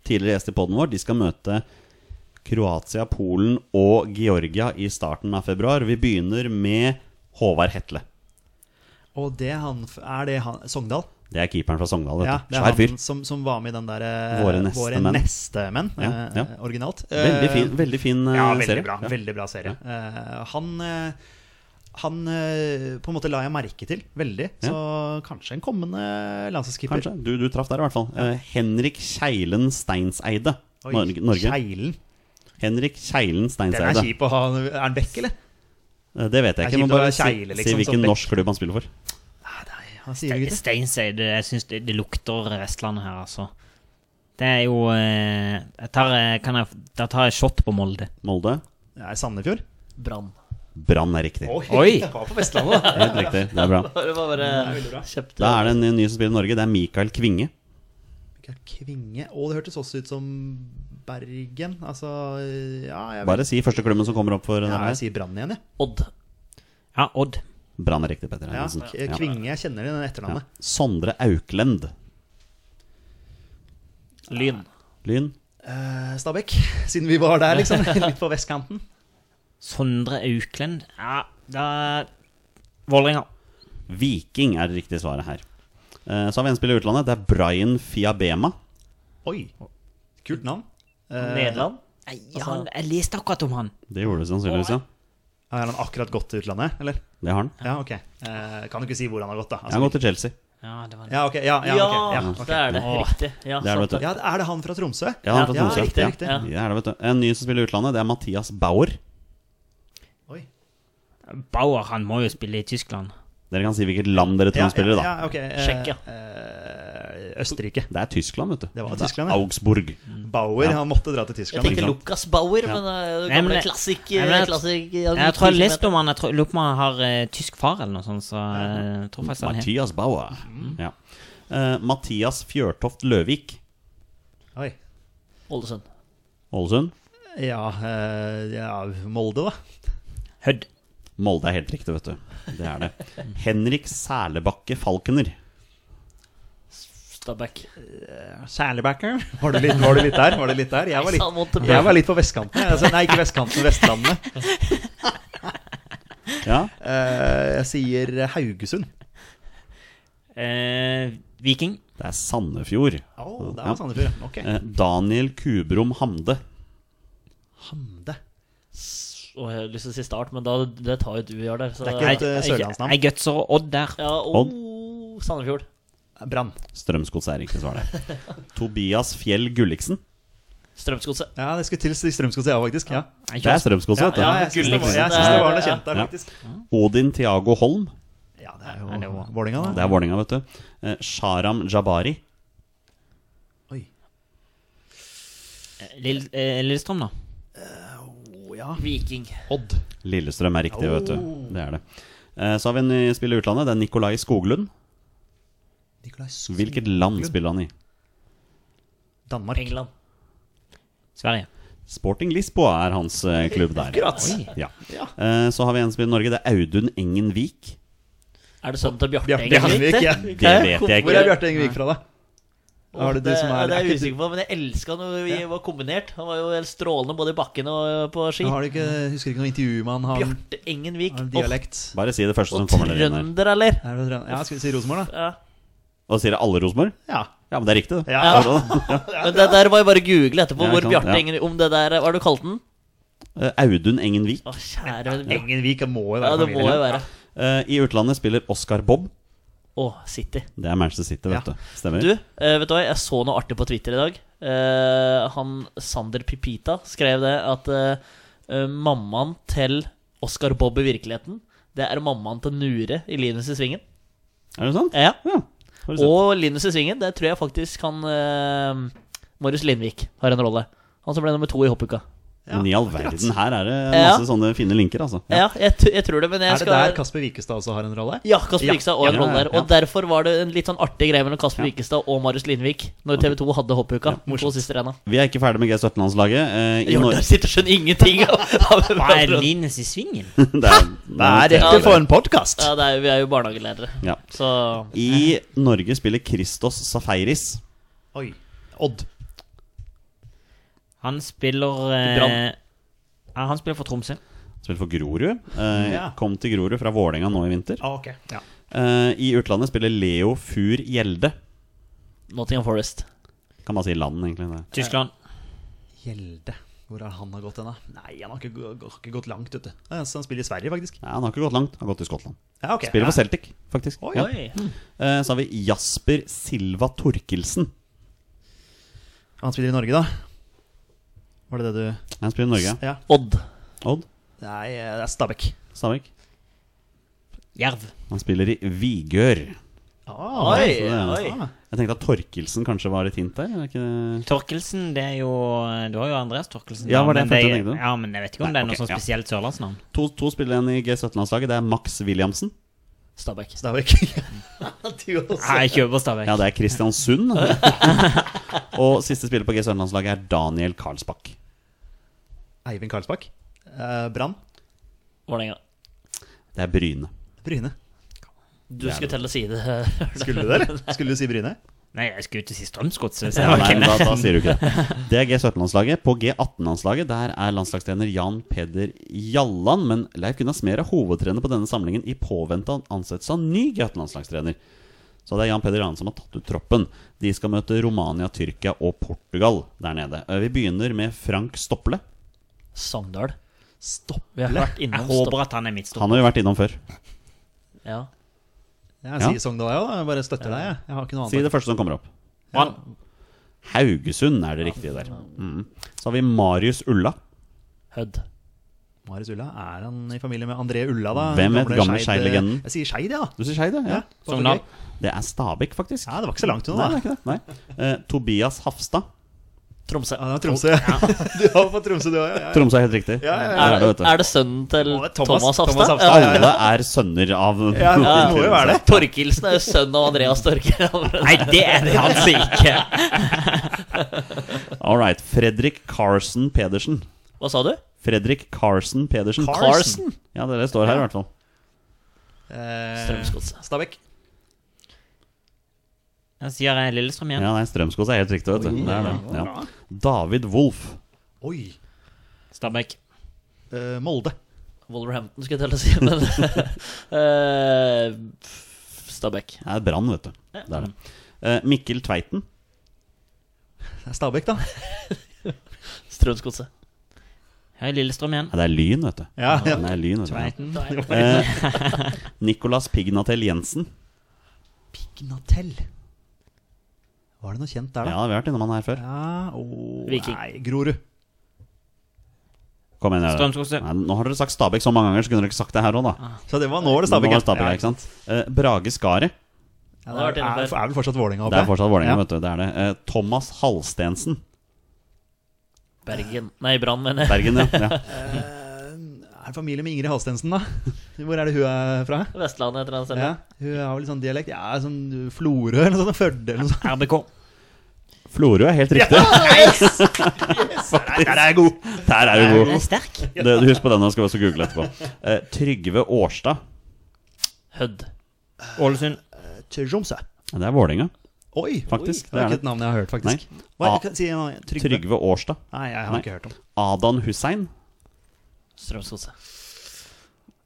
S1: Tidligere gjest i poden vår. De skal møte Kroatia, Polen og Georgia i starten av februar. Vi begynner med Håvard Hetle.
S2: Og det han f- Er det han Sogndal?
S1: Det er keeperen fra Sogndal. vet
S2: Ja,
S1: du.
S2: det er
S1: Svær fyr.
S2: han som, som var med i den derre
S1: Våre neste menn.
S2: nestemenn. eh,
S1: Ja, ja.
S2: Originalt.
S1: Veldig fin,
S2: Eh,
S1: veldig fin eh,
S2: Ja, veldig
S1: serie.
S2: bra.
S1: Ja.
S2: Veldig bra serie. Eh, han eh, han eh, på en måte la jeg merke til veldig.
S1: Ja.
S2: Så kanskje en kommende landslagskeeper.
S1: Kanskje. Du, du traff der, i hvert fall. Eh, Henrik Keilen Steinseide.
S2: Oi,
S1: Norge. Norge.
S2: Kjeilen.
S1: Henrik Keilen
S2: Den er
S1: Steinseide.
S2: kjip å ha. Er han vekk, eller?
S1: Eh, Det vet jeg
S2: Det er
S1: ikke.
S2: kjipt
S1: Må
S2: å
S1: bare
S2: være
S1: si,
S2: Keile, liksom,
S1: si
S2: som
S1: hvilken
S2: back.
S1: norsk klubb han spiller for.
S2: Nei, nei, han sier jo ikke det.
S3: Steinseid, jeg syns det, det lukter Vestlandet her, altså. Det er jo eh, jeg tar, eh, kan jeg, Da tar jeg shot på Molde.
S1: Molde.
S2: Det er Sandefjord.
S4: Brann.
S1: Brann er riktig.
S3: Oi!
S2: Det var på Vestlandet, da.
S1: Helt riktig. Det er bra.
S4: Det var bare
S1: Da
S4: kjøpte
S1: er det en ny som spiller i Norge. Det er Mikael Kvinge.
S2: Mikael Kvinge Å, det hørtes også ut som Bergen. Altså, ja Jeg, vet.
S1: Bare si første klubben som kommer opp for
S2: ja,
S1: denne
S2: jeg
S1: her.
S2: sier Brann igjen, jeg.
S4: Odd.
S3: Ja, Odd.
S1: Brann er riktig, Petter
S2: Ja.
S1: Hermansen.
S2: K- Kvinge, jeg kjenner den
S1: Ja.
S2: etternavnet.
S1: Sondre Auklend.
S3: Lyn.
S1: Lyn.
S2: Eh, Stabæk, siden vi var der, liksom. Litt på vestkanten.
S3: Sondre Auklend. Ja, da Vålerenga.
S1: Viking er det riktige svaret her. Eh, Så har vi en spiller i utlandet. Det er Brian Fiabema.
S2: Oi, kult navn. Eh,
S4: Nederland.
S3: Nei, han, jeg leste akkurat om han.
S1: Det gjorde du sannsynligvis, ja.
S2: Har han akkurat gått til utlandet, eller?
S1: Det har han.
S2: Ja, ok. Eh, kan du ikke si hvor han har gått, da?
S1: Han går til Chelsea.
S3: Ja, det var
S2: ja, ok. Ja, Eh, ja,
S4: Ja,
S2: ok, ja, ok.
S4: det er det.
S2: Åh.
S4: Riktig. Ja,
S1: Det er det,
S4: sant
S1: vet du.
S2: Ja, er det han fra Tromsø?
S1: Ja, han er fra
S2: Ja,
S1: Tromsø.
S2: riktig,
S1: Ja.
S2: riktig.
S1: Ja, det er det, vet du. En ny som spiller i utlandet, det er Mathias Bauer.
S3: Bauer, han må jo spille i Tyskland.
S1: Dere kan si hvilket land dere tror han spiller i, da.
S2: Ja, ok. eh,
S4: Sjekk, ja.
S2: eh, Østerrike.
S1: Det er Tyskland, vet du.
S2: Det var Tyskland, ja.
S1: Augsburg.
S2: Bauer, han måtte dra til
S4: Mm. Jeg
S2: Tyskland.
S4: tenkte Lucas Bauer, men eh, det er jo
S3: Nei, men
S4: gamle
S3: det-
S4: klassikk...
S3: Nei, men jeg-
S4: klassikk
S3: Jeg tror jeg leste om han. Jeg tror, lurer på om han har eh, tysk far eller noe sånt. Så eh, jeg tror
S2: Sånn,
S3: faktisk han het
S1: Mathias Bauer.
S2: Mm.
S1: Ja. Eh, Mathias Fjørtoft Løvik.
S2: Oi.
S4: Ålesund.
S1: Ålesund.
S2: Ja, eh, ja, Molde, da.
S3: Hødd.
S1: Molde er helt riktig, vet du. Det er det. Henrik Sælebakke Falkener.
S4: Stabæk.
S2: Særligbacker. Var du litt, var du litt der? Var du litt der? Jeg var
S4: Nei, sann, måtte
S2: litt,
S4: bli.
S2: jeg var litt på vestkanten. jeg. Altså, nei, ikke vestkanten, Vestlandet.
S1: Ja.
S2: Eh, jeg sier Haugesund.
S3: Eh, Viking.
S1: Det er Sandefjord.
S2: Å, det
S1: Ja.
S2: var Sandefjord. ja. Ok.
S1: Eh, Daniel Kubrom Hamde.
S2: Hamde.
S4: Og jeg har lyst til å si start, men da, det tar jo du vi har der. Så
S2: Det er ikke
S3: Jeg,
S2: et eh,
S3: jeg, jeg,
S2: sørlandsnavn.
S3: jeg gutser Odd der.
S4: Ja,
S1: Odd.
S4: oh, Sandefjord.
S2: Brann.
S1: Strømsgods er riktig svar der. Tobias Fjell Gulliksen.
S4: Strømsgodset.
S2: Ja, det skulle til Strømsgodset, ja, faktisk. Ja.
S1: Det er Strømsgods, vet du.
S4: Ja,
S2: jeg syns det var,
S4: Gulliksen,
S2: jeg syns det var noe
S4: det er-
S2: kjent der,
S1: ja.
S2: faktisk.
S1: Odin Tiago Holm.
S2: Ja, det er jo Vålinga,
S1: Det
S2: da.
S1: er Vålerenga, vet du. Eh, Sharam Jabari.
S2: Oi.
S3: Eh, Lill- eh, Lillestrøm, da.
S2: Å, ja.
S4: Viking.
S2: Odd. Oh.
S1: Lillestrøm er riktig, vet du. Det er det. Eh, Så har vi en ny spiller i utlandet. Det er Nikolai Skoglund.
S2: Nikolai Skog.
S1: Hvilket land spiller han i?
S2: Danmark.
S4: England.
S3: Sverige.
S1: Sporting Lisboa er hans eh, klubb der.
S4: Akkurat.
S1: Ja.
S4: Ja.
S1: Eh, Så har vi en som spiller i Norge. Det er Audun Engen Vik.
S4: Er det sønnen til Bjarte
S2: Bjarte Engvik, ja.
S1: Det vet jeg
S2: Hvor er
S1: ikke.
S2: Bjarte Engvik fra, da?
S4: Åh,
S2: Er det du som er-
S4: det er
S2: er
S4: jeg
S2: ikke du-
S4: usikker på, men jeg elska når vi var kombinert. Han var jo helt strålende både i bakken og på ski.
S2: Har du ikke, husker ikke noe intervju med han? Han
S4: Bjarte Engenvik.
S2: har en
S4: Åh,
S2: dialekt.
S1: Bare si det første som
S4: Og
S1: Sånn kommer dere inn her.
S4: trønder, eller?
S2: Er det, ja, Skal vi si Rosenborg, da?
S4: Ja.
S1: Og sier det alle Rosenborg?
S2: Ja.
S1: Ja, men det er riktig, det.
S2: Ja.
S4: Men det der var jo bare å google etterpå
S1: Ja,
S4: hvor
S1: ikke sant,
S4: Bjarte
S1: ja.
S4: Engen Om det der Hva har du kalt den?
S1: Eh, Audun Engen Vik.
S4: Å, kjære min.
S2: Engenvik det må jo
S4: Ja,
S2: være
S4: det må
S2: familie.
S4: jo være.
S1: Eh, I utlandet spiller Oscar Bob.
S4: Å, City.
S1: Det er Manchester City, vet
S2: Ja.
S1: du. Stemmer.
S4: Du, eh, vet du hva? Jeg så noe artig på Twitter i dag. Eh, han Sander Pipita skrev det at eh, eh, mammaen til Oscar Bob i virkeligheten, det er mammaen til Nure i Linus i Svingen.
S1: Er det sant?
S4: Ja.
S1: Ja. Har du sett.
S4: Og Linus i Svingen, det tror jeg faktisk han eh, Marius Lindvik har en rolle. Han som ble nummer to i hoppuka.
S1: Men i all verden, her er det
S4: Ja.
S1: masse sånne fine linker, altså. Ja.
S4: Ja, jeg, t jeg tror det, men jeg
S2: Er det
S4: skal
S2: der Kasper Wikestad også har en rolle?
S4: Ja, Kasper
S2: Ja,
S4: Wikestad og en
S1: ja,
S4: rolle der.
S1: ja.
S4: Og derfor var det en litt sånn artig greie mellom Kasper
S1: Ja.
S4: Wikestad og Marius Lindvik når TV 2 hadde hoppuka. de to
S2: morsomt.
S4: siste rena.
S1: Vi er ikke ferdig med G17-landslaget. Eh, i
S4: Jordan
S1: Norge
S4: sitter og skjønner ingenting av, av
S3: Hva er Linus i svingen?
S1: Det er, det
S4: rett og slett for
S2: en podkast!
S4: Ja, det er, vi er jo barnehagelærere,
S1: Ja.
S4: så
S1: I Norge spiller Christos Safaris.
S2: Oi. Odd.
S3: Han spiller eh,
S4: Brann.
S3: ja, Han spiller for Tromsø.
S1: Spiller for Grorud. Eh,
S2: Ja.
S1: Kom til Grorud fra Vålerenga nå i vinter.
S2: Ah, ok. Ja.
S1: Eh, I utlandet spiller Leo Fur Gjelde.
S4: Nottingham Forest.
S1: Kan bare si land, egentlig. Det.
S3: Tyskland.
S2: Gjelde. Hvor er han har gått hen, da? Nei, han har ikke, gå- gå- ikke gått langt, vet du. Ja, så han spiller i Sverige, faktisk.
S1: Nei, han har ikke gått langt. Han har gått til Skottland.
S2: Ja, ok.
S1: Spiller
S2: ja.
S1: for Celtic, faktisk.
S2: Oi,
S1: Ja.
S4: Oi.
S1: Eh, Så har vi Jasper Silva Torkelsen.
S2: Han spiller i Norge, da? Var det det du
S1: Han spiller i Norge.
S2: Ja.
S4: Odd.
S1: Odd
S2: Nei, eh, det er Stabæk.
S1: Stabæk.
S3: Jerv.
S1: Han spiller i Vigør.
S4: Oi,
S1: så det er-
S4: oi.
S2: Ah.
S1: Jeg tenkte at Torkelsen kanskje var et hint der. Er det ikke det?
S3: Torkelsen, det er jo Du har jo Andreas Torkelsen.
S1: Ja,
S3: da,
S1: var det
S3: men
S1: jeg
S3: det-
S1: tenkte jeg tenkte.
S3: Ja, men jeg vet ikke om
S1: Nei,
S3: det er noe
S1: ok,
S3: sånn
S1: ja.
S3: spesielt sørlandsnavn.
S1: To, to spiller igjen i G17-landslaget. Det er Max Williamsen.
S4: Stabæk.
S2: Stabæk. du også.
S3: Nei, jeg kjøper Stabæk.
S1: Ja, det er Kristiansund. Og siste spiller på G17-landslaget er Daniel Karlsbakk.
S2: Eivind Karlsbakk. Eh, Brann.
S4: Vålerenga.
S1: Det er Bryne.
S2: Bryne.
S4: Du
S1: Det er
S4: skulle
S1: det.
S4: telle å si det.
S2: Skulle du det, eller? Skulle du si Bryne?
S3: Nei, jeg skulle til si Strømsgodset. hvis jeg
S1: Ja,
S3: var
S1: nei,
S3: kjent.
S1: da, da sier du ikke det. Det er G17-landslaget. På G18-landslaget der er landslagstrener Jan Peder Jalland. Men Leif Gunnar Smer er hovedtrener på denne samlingen i påvente av ansettelse av ny G18-landslagstrener. Så det er Jan Peder Jalland som har tatt ut troppen. De skal møte Romania, Tyrkia og Portugal der nede. Eh, Vi begynner med Frank Stopple.
S4: Sogndal.
S2: Stopp.
S4: Vi har vært
S3: Jeg
S4: innom
S3: håper
S4: Stopp.
S3: at han er midtstopper.
S1: Han har vi vært innom før.
S4: Ja.
S2: Jeg
S1: Ja.
S2: sier Sogndal, jeg òg. Bare støtter deg, jeg. Jeg har ikke noe
S1: Si
S2: annet.
S1: det første som kommer opp.
S3: Brann.
S1: Haugesund er det riktige der. Mm. Så har vi Marius Ulla.
S4: Hødd.
S2: Marius Ulla, er han i familie med André Ulla, da?
S1: Hvem vet, gamle
S2: Skeid- eh,
S1: Skeid-legenden?
S2: Jeg sier Skeid, ja.
S1: Du sier Skeid, ja?
S2: da.
S3: Sogndal.
S1: Det er Stabæk, faktisk.
S2: Ja, det var ikke så langt
S1: Nei,
S2: unna,
S1: det er
S2: da.
S1: ikke det. Nei. Eh, Tobias Hafstad.
S4: Tromsø.
S2: Ja, det var Tromsø. Du har på Tromsø, du òg. Ja, ja.
S1: Tromsø er helt riktig.
S2: Ja, ja,
S1: Der
S2: ja.
S4: Er,
S1: er det, vet du.
S4: er det sønnen til
S1: Mm.
S2: Å, det er Thomas-
S4: Thomas
S2: Thomas
S4: Hafstad?
S2: Hafstad,
S4: Ja.
S2: ja, ja.
S1: Alle er sønner av
S2: Ja, det må jo være det.
S4: Torkelsen er jo sønn av Andreas Torkelsen.
S3: Nei, det er det altså ikke.
S1: All right. Fredrik Carson Pedersen.
S4: Hva sa du?
S1: Fredrik Carson Pedersen.
S2: Carson?
S4: Carson?
S1: Ja, det er det står her, i hvert fall.
S2: Eh,
S4: Strømsgodset.
S2: Stabæk.
S3: Da sier jeg Lillestrøm igjen.
S1: Ja, nei, Strømskog er helt riktig, vet du. Det er det. Ja. David Wolff.
S2: Oi.
S3: Stabæk.
S2: Eh, Molde.
S4: Wolverhampton skulle jeg telle å si, men eh, Stabæk.
S1: Det er Brann, vet du. Det er det. Eh, Mikkel Tveiten.
S2: Det er Stabæk, da.
S4: Strømsgodset.
S3: Her er Lillestrøm igjen.
S1: Nei, det er Lyn, vet du.
S2: Ja, ja.
S1: Det er lyn, vet du. Ja.
S3: Tveiten.
S1: Eh, Nicolas Pignatel Jensen.
S2: Pignatell. Var det noe kjent
S1: Ja,
S2: der,
S1: vi
S2: da?
S1: har vært innom han her før.
S2: Ja, åh,
S4: Viking.
S2: Nei, Grorud.
S1: Kom igjen,
S3: Strømsgodset.
S1: Nei, Nå har dere sagt Stabæk så mange ganger, så kunne dere ikke sagt det her òg, da.
S2: Så det var nå var det
S1: Nå
S2: Stabæk. ja.
S1: var det Stabæk, ikke sant? Eh, Brage Skaret.
S2: Ja, det er, er, er vel fortsatt Vålerenga
S1: Det er fortsatt Vålerenga,
S2: Ja.
S1: vet du. Det er det. Eh, Thomas Halstensen.
S4: Bergen. Nei, Brann, mener jeg.
S1: Bergen, ja. ja.
S2: Er det familie med Ingrid Halstensen, da? Hvor er det hun er fra?
S4: Vestlandet et eller annet sted.
S2: Ja, hun har vel litt sånn dialekt. Ja, sånn Florø eller noe sånt. Førde eller noe sånt.
S3: RBK.
S1: Florø er helt riktig. faktisk. Der er jeg god! Der er du
S3: Den er
S1: god.
S3: sterk.
S1: Det, husk på den når du skal også google etterpå. Eh, Trygve Årstad.
S4: Hødd.
S3: Ålesund.
S2: Tromsø.
S1: Det er Vålerenga,
S2: Oi,
S1: Faktisk, det
S2: Oi, det
S1: er
S2: er ikke
S1: det.
S2: et navn jeg har hørt, faktisk.
S1: Nei.
S2: Hva,
S1: Ah,
S2: jeg kan si en annen- Trygve.
S1: Trygve Årstad.
S2: Nei, jeg har
S1: Nei.
S2: ikke hørt om det.
S1: Adan Hussein.
S4: Strømskose.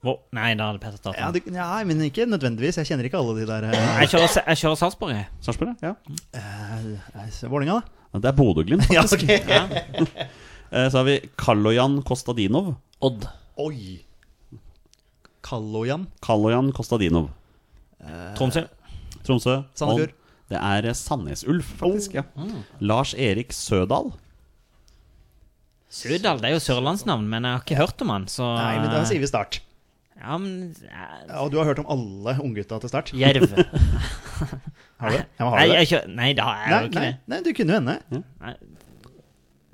S3: Wow. Nei, da hadde Petter tatt
S2: Ja,
S3: den.
S2: du, nei, men ikke nødvendigvis. Jeg kjenner ikke alle de der eh,
S3: Jeg kjører, jeg kjører Sarpsborg, jeg.
S1: Sarpsborg, ja.
S2: eh, Vålinga, da.
S1: Det er Bodø-Glimt.
S2: Ja, ok.
S1: Eh, Så har vi Kaloyan Kostadinov.
S4: Odd.
S2: Oi. Kallojan.
S1: Kaloyan Kostadinov.
S3: Tromsø.
S1: Tromsø.
S2: Sandefjord. Oh. Mm.
S1: Odd. Det er eh, Sandnes-Ulf, faktisk. ja Lars Erik Sødal.
S3: Sødal. Det er jo sørlandsnavn, men jeg har ikke hørt om han, så
S2: Nei, men da sier vi Start.
S3: Ja, men eh,
S2: Ja, og du har hørt om alle unggutta til Start?
S4: Jerv.
S2: Har du det? Ja, men
S3: Nei,
S2: har du det?
S3: jeg kjører, nei, da er jeg
S2: Nei,
S3: jo ikke
S2: nei,
S3: det.
S2: nei, du kunne jo hende.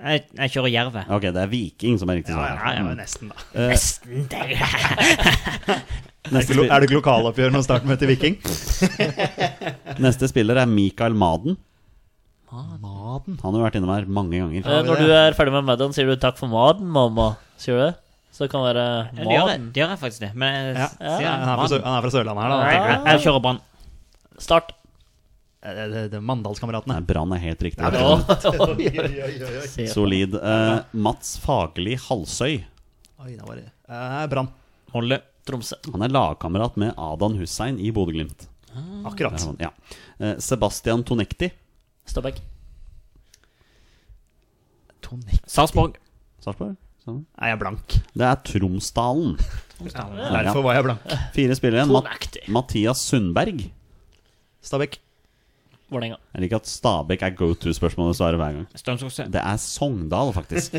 S3: Jeg, jeg kjører Jervet.
S1: Ok, det er Viking som er riktig svar. Mm.
S2: Ja, ja, men nesten, da.
S3: Nesten der.
S1: Neste,
S2: Er det
S1: spil
S2: ikke lokaloppgjør når Start møter Viking?
S1: neste spiller er Mikael Maden.
S2: Maden.
S1: Han har jo vært innom her mange ganger.
S4: Eh, Når du er ferdig med middagen, sier du 'takk for maten, mamma'. Sier du det? Så det kan være
S3: Det gjør, jeg,
S4: maten.
S3: det gjør jeg faktisk det. Men jeg,
S2: Ja.
S3: sier
S2: Han er
S4: Ja,
S2: fra,
S3: mann.
S2: Sør han er fra Sørlandet her, da.
S3: Jeg,
S2: tenker jeg.
S3: jeg kjører Brann.
S4: Start.
S2: Eh, Det, det, det er
S1: Nei,
S2: Mandalskameratene.
S1: Brann er helt riktig.
S4: Se.
S1: Solid. Eh, Mats Fagerli Halsøy.
S2: Oi, det var det. Eh, Brann.
S3: Molde.
S4: Tromsø.
S1: Han er lagkamerat med Adan Hussein i Bodø-Glimt. Der
S2: Akkurat.
S1: har han- Ja. Eh, Sebastian Tonekti.
S4: Stabæk.
S2: Tonek.
S3: Sarpsborg.
S1: Sarpsborg? Sånn.
S2: Nei, jeg er blank.
S1: Det er Tromsdalen.
S2: Derfor var jeg blank.
S1: Fire spillere igjen. Mat
S4: Tonaktig.
S1: Mathias Sundberg.
S2: Stabæk.
S4: Vålerenga.
S1: Jeg liker at Stabæk er go to-spørsmålet å svare hver gang.
S3: Strømsgodset.
S1: Det er Sogndal, faktisk.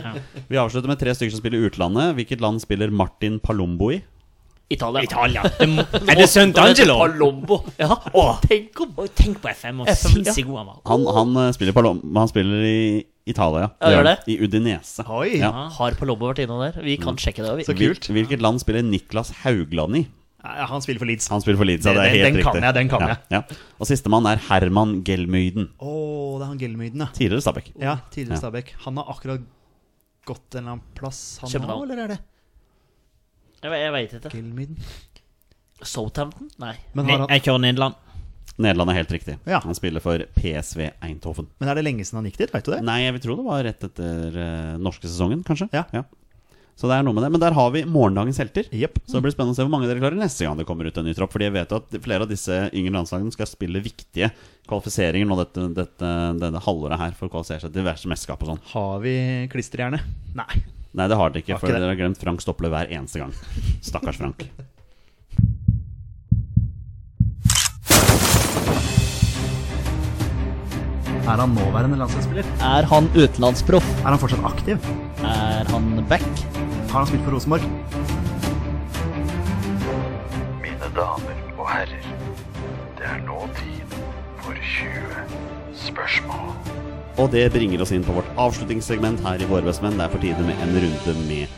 S1: Vi avslutter med tre stykker som spiller i utlandet. Hvilket land spiller Martin Palombo i?
S4: Italia.
S3: Italia. Det må, er det Sant'Angelo?
S4: Palombo. Ja,
S3: Åh.
S4: tenk om
S3: Å, Tenk på FM og
S4: FM, ja.
S3: sinnssykt god han var.
S1: Han, han eh, spiller Palombo Han spiller i Italia.
S4: Ja, gjør det?
S1: I Udinese.
S2: Oi.
S1: Ja.
S4: Har Palombo vært innom der? Vi kan sjekke det. Vi.
S2: Så kult.
S1: Hvil- Hvilket land spiller Niklas Haugland i?
S2: Nei, Han spiller for Leeds. Å,
S1: Han spiller for Leeds, ja, det er
S2: Den-
S1: helt
S2: den
S1: riktig.
S2: kan jeg, den kan
S1: ja,
S2: jeg.
S1: Ja. Og sistemann er Herman Gelmyden.
S2: det er han Gelmyden, ja.
S1: Tidligere Stabæk.
S2: Ja, tidligere
S1: Ja.
S2: Stabæk. Han har akkurat gått en eller annen plass, han
S4: København.
S2: nå, eller er det
S4: Jeg, ve- jeg veit ikke.
S2: Gelmyden?
S4: Southampton? Nei.
S2: Men, har
S3: Ne-
S2: han,
S3: Jeg kjører Nederland.
S1: Nederland er helt riktig.
S2: Ja.
S1: Han spiller for PSV Eindhoven.
S2: men er det lenge siden han gikk dit? Veit du det?
S1: Nei, jeg vil tro det var rett etter eh, norske sesongen, kanskje.
S2: Ja.
S1: Så det er noe med det. Men der har vi morgendagens helter.
S2: Jepp.
S1: Så det blir spennende å se hvor mange dere klarer neste gang det kommer ut en ny tropp. Fordi jeg vet jo at flere av disse yngre landslagene skal spille viktige kvalifiseringer nå dette, dette, denne halvåret her for å kvalifisere seg til diverse mesterskap og sånn.
S2: Har vi klisterhjerne? Nei.
S1: Nei, det har dere ikke,
S2: Har ikke
S1: for
S2: det.
S1: dere har glemt Frank Stopple hver eneste gang. Stakkars Frank.
S2: Er han nåværende landslagsspiller?
S4: Er han utenlandsproff?
S2: Er han fortsatt aktiv?
S4: Er han back?
S2: Har han spilt for Rosenborg?
S7: Mine damer og herrer, det er nå tid for 20 spørsmål.
S1: Og det bringer oss inn på vårt avslutningssegment her i Våre bestemenn. Det er for tide med en runde med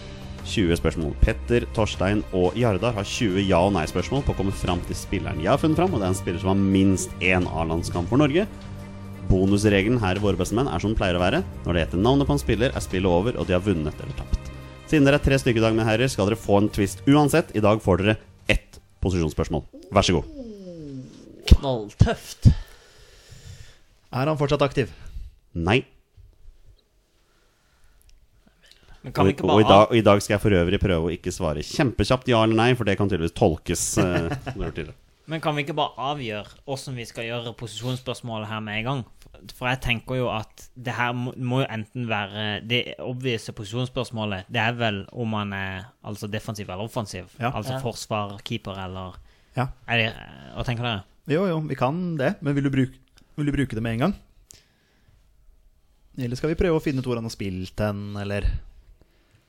S1: 20 spørsmål. Petter, Torstein og Jardar har 20 ja- og nei-spørsmål på å komme fram til spilleren jeg har funnet fram, og det er en spiller som har minst én A-landskamp for Norge. Bonusregelen her i Våre bestemenn er som den pleier å være. Når det heter navnet på en spiller, er spillet over, og de har vunnet eller tapt. Siden dere er tre stykker i dag, mine herrer, skal dere få en twist uansett. I dag får dere ett posisjonsspørsmål. Vær så god.
S4: Knalltøft.
S2: Er han fortsatt aktiv?
S1: Nei.
S3: Men kan
S1: Og,
S3: vi ikke
S1: og, i
S3: bare
S1: dag, og i dag skal jeg for øvrig prøve å ikke svare kjempekjapt ja eller nei, for det kan tydeligvis tolkes. eh, som du har gjort tidligere.
S3: Men kan vi ikke bare avgjøre hvordan vi skal gjøre posisjonsspørsmålet her med en gang? For jeg tenker jo at det her må, må jo enten være Det obvise posisjonsspørsmålet, det er vel om man er altså defensiv eller offensiv.
S2: Ja.
S3: Altså
S4: Ja.
S3: forsvar, keeper eller
S2: Ja.
S3: er det, Hva tenker dere?
S2: Jo, jo, vi kan det. Men vil du bruke, vil du bruke det med en gang? Eller skal vi prøve å finne ut hvor han har spilt hen, eller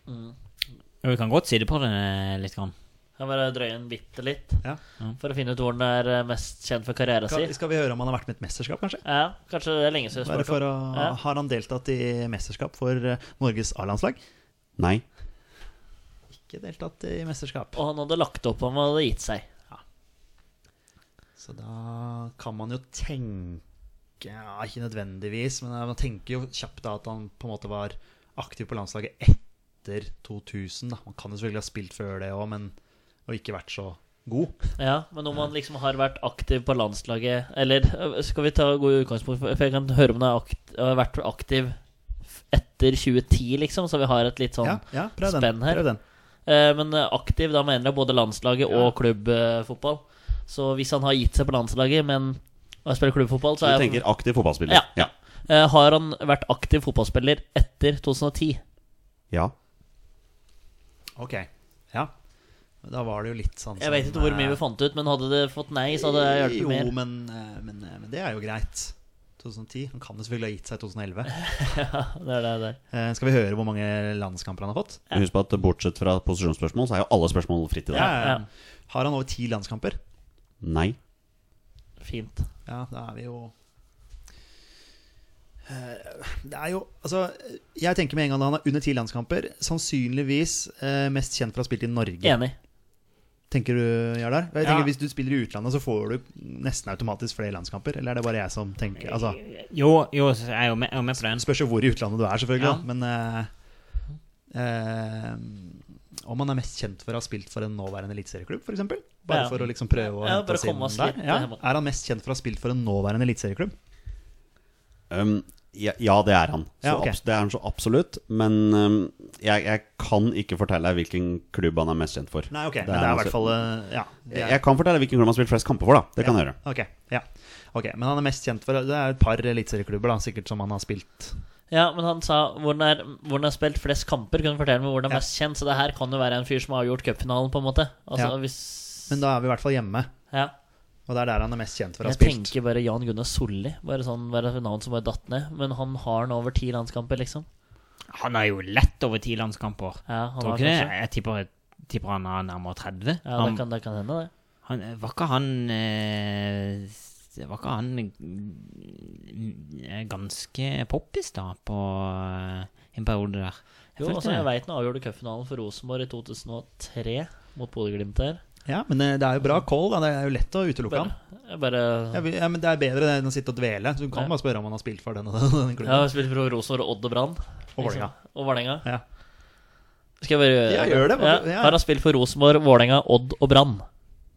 S3: Jo, vi kan godt si det på det eh, litt. Grann.
S4: Jeg bare drøye en bitte litt
S2: Ja.
S4: for å finne ut hvor han er eh, mest kjent for karrieren
S2: skal,
S4: sin.
S2: skal vi høre om han har vært med i et mesterskap, kanskje?
S4: Ja, kanskje det er lenge siden
S2: Bare
S4: jeg spurte.
S2: for å,
S4: Ja.
S2: har han deltatt i mesterskap for eh, Norges A-landslag?
S1: Nei.
S2: Ikke deltatt i mesterskap.
S4: Og han hadde lagt opp, han hadde gitt seg.
S2: Så da kan man jo eh, tenke ja, Ikke nødvendigvis, men man tenker jo kjapt da at han på en måte var aktiv på landslaget etter 2000. Da. Man kan jo selvfølgelig ha spilt før det òg, men og ikke vært så god.
S4: Ja, men om han liksom har vært aktiv på landslaget Eller øh, skal vi ta gode utgangspunkt, for for jeg kan høre om han har akt, har vært aktiv f- etter 2010, liksom, så vi har et litt sånn
S2: Ja, ja prøv den.
S4: spenn her.
S2: Prøv den.
S4: Eh, Men eh, aktiv, da mener jeg både landslaget
S2: Ja.
S4: og klubbfotball. Så hvis han har gitt seg på landslaget, men har spilt klubbfotball,
S1: Du
S4: så er han,
S1: tenker aktiv fotballspiller?
S4: Ja.
S1: Ja.
S4: eh, har han vært aktiv fotballspiller etter 2010.
S1: Ja.
S2: Ok. Ja. Men Da var det jo litt sånn
S4: Jeg vet ikke hvor mye vi fant ut, men hadde det fått nei, så hadde jeg hjulpet
S2: jo,
S4: mer.
S2: men, eh, men, eh, men det er jo greit. 2010. Han kan jo selvfølgelig ha gitt seg i 2011.
S4: Ja, det er det der.
S2: Eh, skal vi høre hvor mange landskamper han har fått?
S1: Men Husk på at bortsett fra posisjonsspørsmål, så er jo alle spørsmål fritt i dag.
S2: Ja, ja.
S4: ja.
S2: Har han over ti landskamper?
S1: Nei.
S4: Fint.
S2: Ja, da er vi jo Eh, Det er jo Altså, jeg tenker med en gang da han er under ti landskamper, sannsynligvis eh, mest kjent for å ha spilt i Norge.
S4: Enig.
S2: Tenker du, Jardar? Jeg tenker
S3: Ja.
S2: Hvis du spiller i utlandet, så får du nesten automatisk flere landskamper. Eller er det bare jeg som tenker Altså,
S3: Jo, jo, så er jeg jo med, jeg er jo med på den.
S2: spørs jo hvor i utlandet du er, selvfølgelig.
S3: Ja.
S2: da, Men eh, eh, om han er mest kjent for å ha spilt for en nåværende eliteserieklubb, f.eks.? Bare
S4: Ja.
S2: for å liksom prøve å
S4: Ja,
S2: hente
S4: bare
S2: oss inn
S4: komme oss
S2: der.
S4: litt
S2: Ja.
S4: hjemme.
S2: Er han mest kjent for å ha spilt for en nåværende eliteserieklubb?
S1: Um, ja, ja, det er han. Så
S2: Ja, ok.
S1: abs- Det er han så absolutt. Men um, jeg, jeg kan ikke fortelle deg hvilken klubb han er mest kjent for.
S2: Nei, ok.
S1: Det
S2: men
S1: er
S2: det er i
S1: altså-
S2: hvert fall eh, Ja. det er-
S1: Jeg kan fortelle deg hvilken klubb han har spilt flest kamper for, da. Det kan jeg gjøre.
S2: Ok, ja. Ok, Men han er mest kjent for Det er et par eliteserieklubber da, sikkert som han har spilt.
S4: Ja, men han sa hvor han er- hvor han har spilt flest kamper, kunne fortelle meg hvor han er
S2: Ja.
S4: mest kjent. Så det her kan jo være en fyr som har avgjort cupfinalen, på en måte. Altså,
S2: Ja.
S4: hvis
S2: Men da er vi i hvert fall hjemme,
S4: ja.
S2: og det er der han er mest kjent for å ha
S4: Jeg
S2: spilt.
S4: tenker bare Jan Gunnar Solli. Bare sånn, bare et navn som bare datt ned. Men han har nå over ti landskamper, liksom.
S3: Han har jo lett over ti landskamper.
S4: Ja, han
S3: Tror ikke
S4: har
S3: det?
S4: kanskje-
S3: Jeg tipper, tipper han har nærmere 30.
S4: Ja,
S3: han,
S4: det kan, det kan hende, det.
S3: han, var ikke han eh, s- Var ikke han eh, ganske poppis, da, på eh, en periode der?
S4: Jo,
S3: følte
S4: altså,
S3: det.
S4: jeg veit han avgjorde cupfinalen for Rosenborg i 2003 mot Bodø-Glimt der.
S2: Ja, Men eh, det er jo bra call. Da. Det er jo lett å utelukke han.
S4: Bare, jeg bare
S2: Ja, vi- ja, men Det er bedre det enn å sitte og dvele. Så Du kan
S4: Ja.
S2: bare spørre om han har spilt for den og den, og den
S4: Jeg har
S2: klubben.
S4: spilt for Rosenborg, Odd og Brann. liksom.
S2: Og Vålerenga.
S4: Og Vålerenga.
S2: Ja.
S4: Skal jeg bare gjøre
S2: Ja, gjør det, bare- ja.
S4: Her har han spilt for Rosenborg, Vålerenga, Odd og Brann.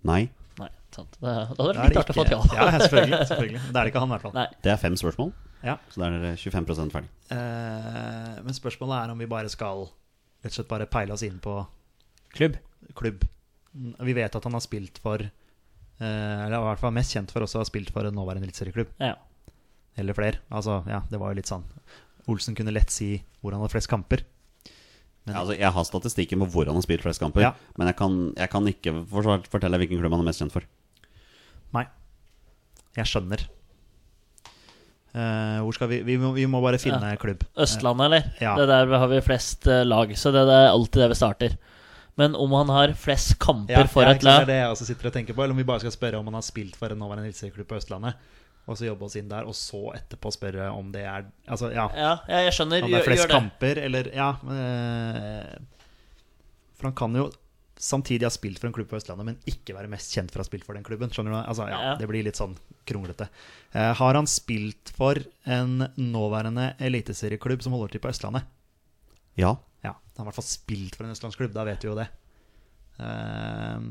S1: Nei.
S4: Nei, sant. Det, da hadde det
S2: Da
S4: vært litt artig å få et ja.
S2: ja, selvfølgelig, selvfølgelig. Men Det er det ikke han, i hvert fall.
S4: Nei.
S1: Det er fem spørsmål,
S2: Ja.
S1: så da er dere 25 ferdig.
S2: Eh, men spørsmålet er om vi bare skal rett og slett bare peile oss inn på
S3: Klubb.
S2: klubb. Mm, Vi vet at han har spilt for eh, Eller i hvert fall mest kjent for også å ha spilt for en nåværende eliteserieklubb.
S4: Ja.
S2: Eller flere. Altså, ja, det var jo litt sånn Olsen kunne lett si hvor han hadde flest kamper. Men-
S1: Ja, altså, jeg har statistikken på hvor han har spilt flest kamper,
S2: Ja.
S1: men jeg kan, jeg kan ikke forsvar- fortelle deg hvilken klubb han er mest kjent for.
S2: Nei. Jeg skjønner. Eh, hvor skal vi Vi må, vi må bare finne klubb.
S4: Østlandet, eller?
S2: Ja.
S4: Det der har vi flest eh, lag, så det, det er alltid der vi starter. Men om han har flest kamper
S2: Ja,
S4: for
S2: ja,
S4: et
S2: ikke sant,
S4: lag
S2: Det er det jeg også sitter og tenker på. Eller om vi bare skal spørre om han har spilt for en nåværende eliteserieklubb på Østlandet, og så jobbe oss inn der, og så etterpå spørre om det er Altså, ja.
S4: Ja, ja, jeg skjønner.
S2: Han har
S4: Gjør,
S2: flest
S4: gjør det.
S2: kamper, eller Ja. men, eh, For han kan jo samtidig ha spilt for en klubb på Østlandet, men ikke være mest kjent for å ha spilt for den klubben. Skjønner du? hva- Altså, ja,
S4: Ja.
S2: Det blir litt sånn kronglete. Eh, har han spilt for en nåværende eliteserieklubb som holder til på Østlandet?
S1: Ja.
S2: Ja, han har i hvert fall spilt for en østlandsklubb, da vet vi jo det. Ehm,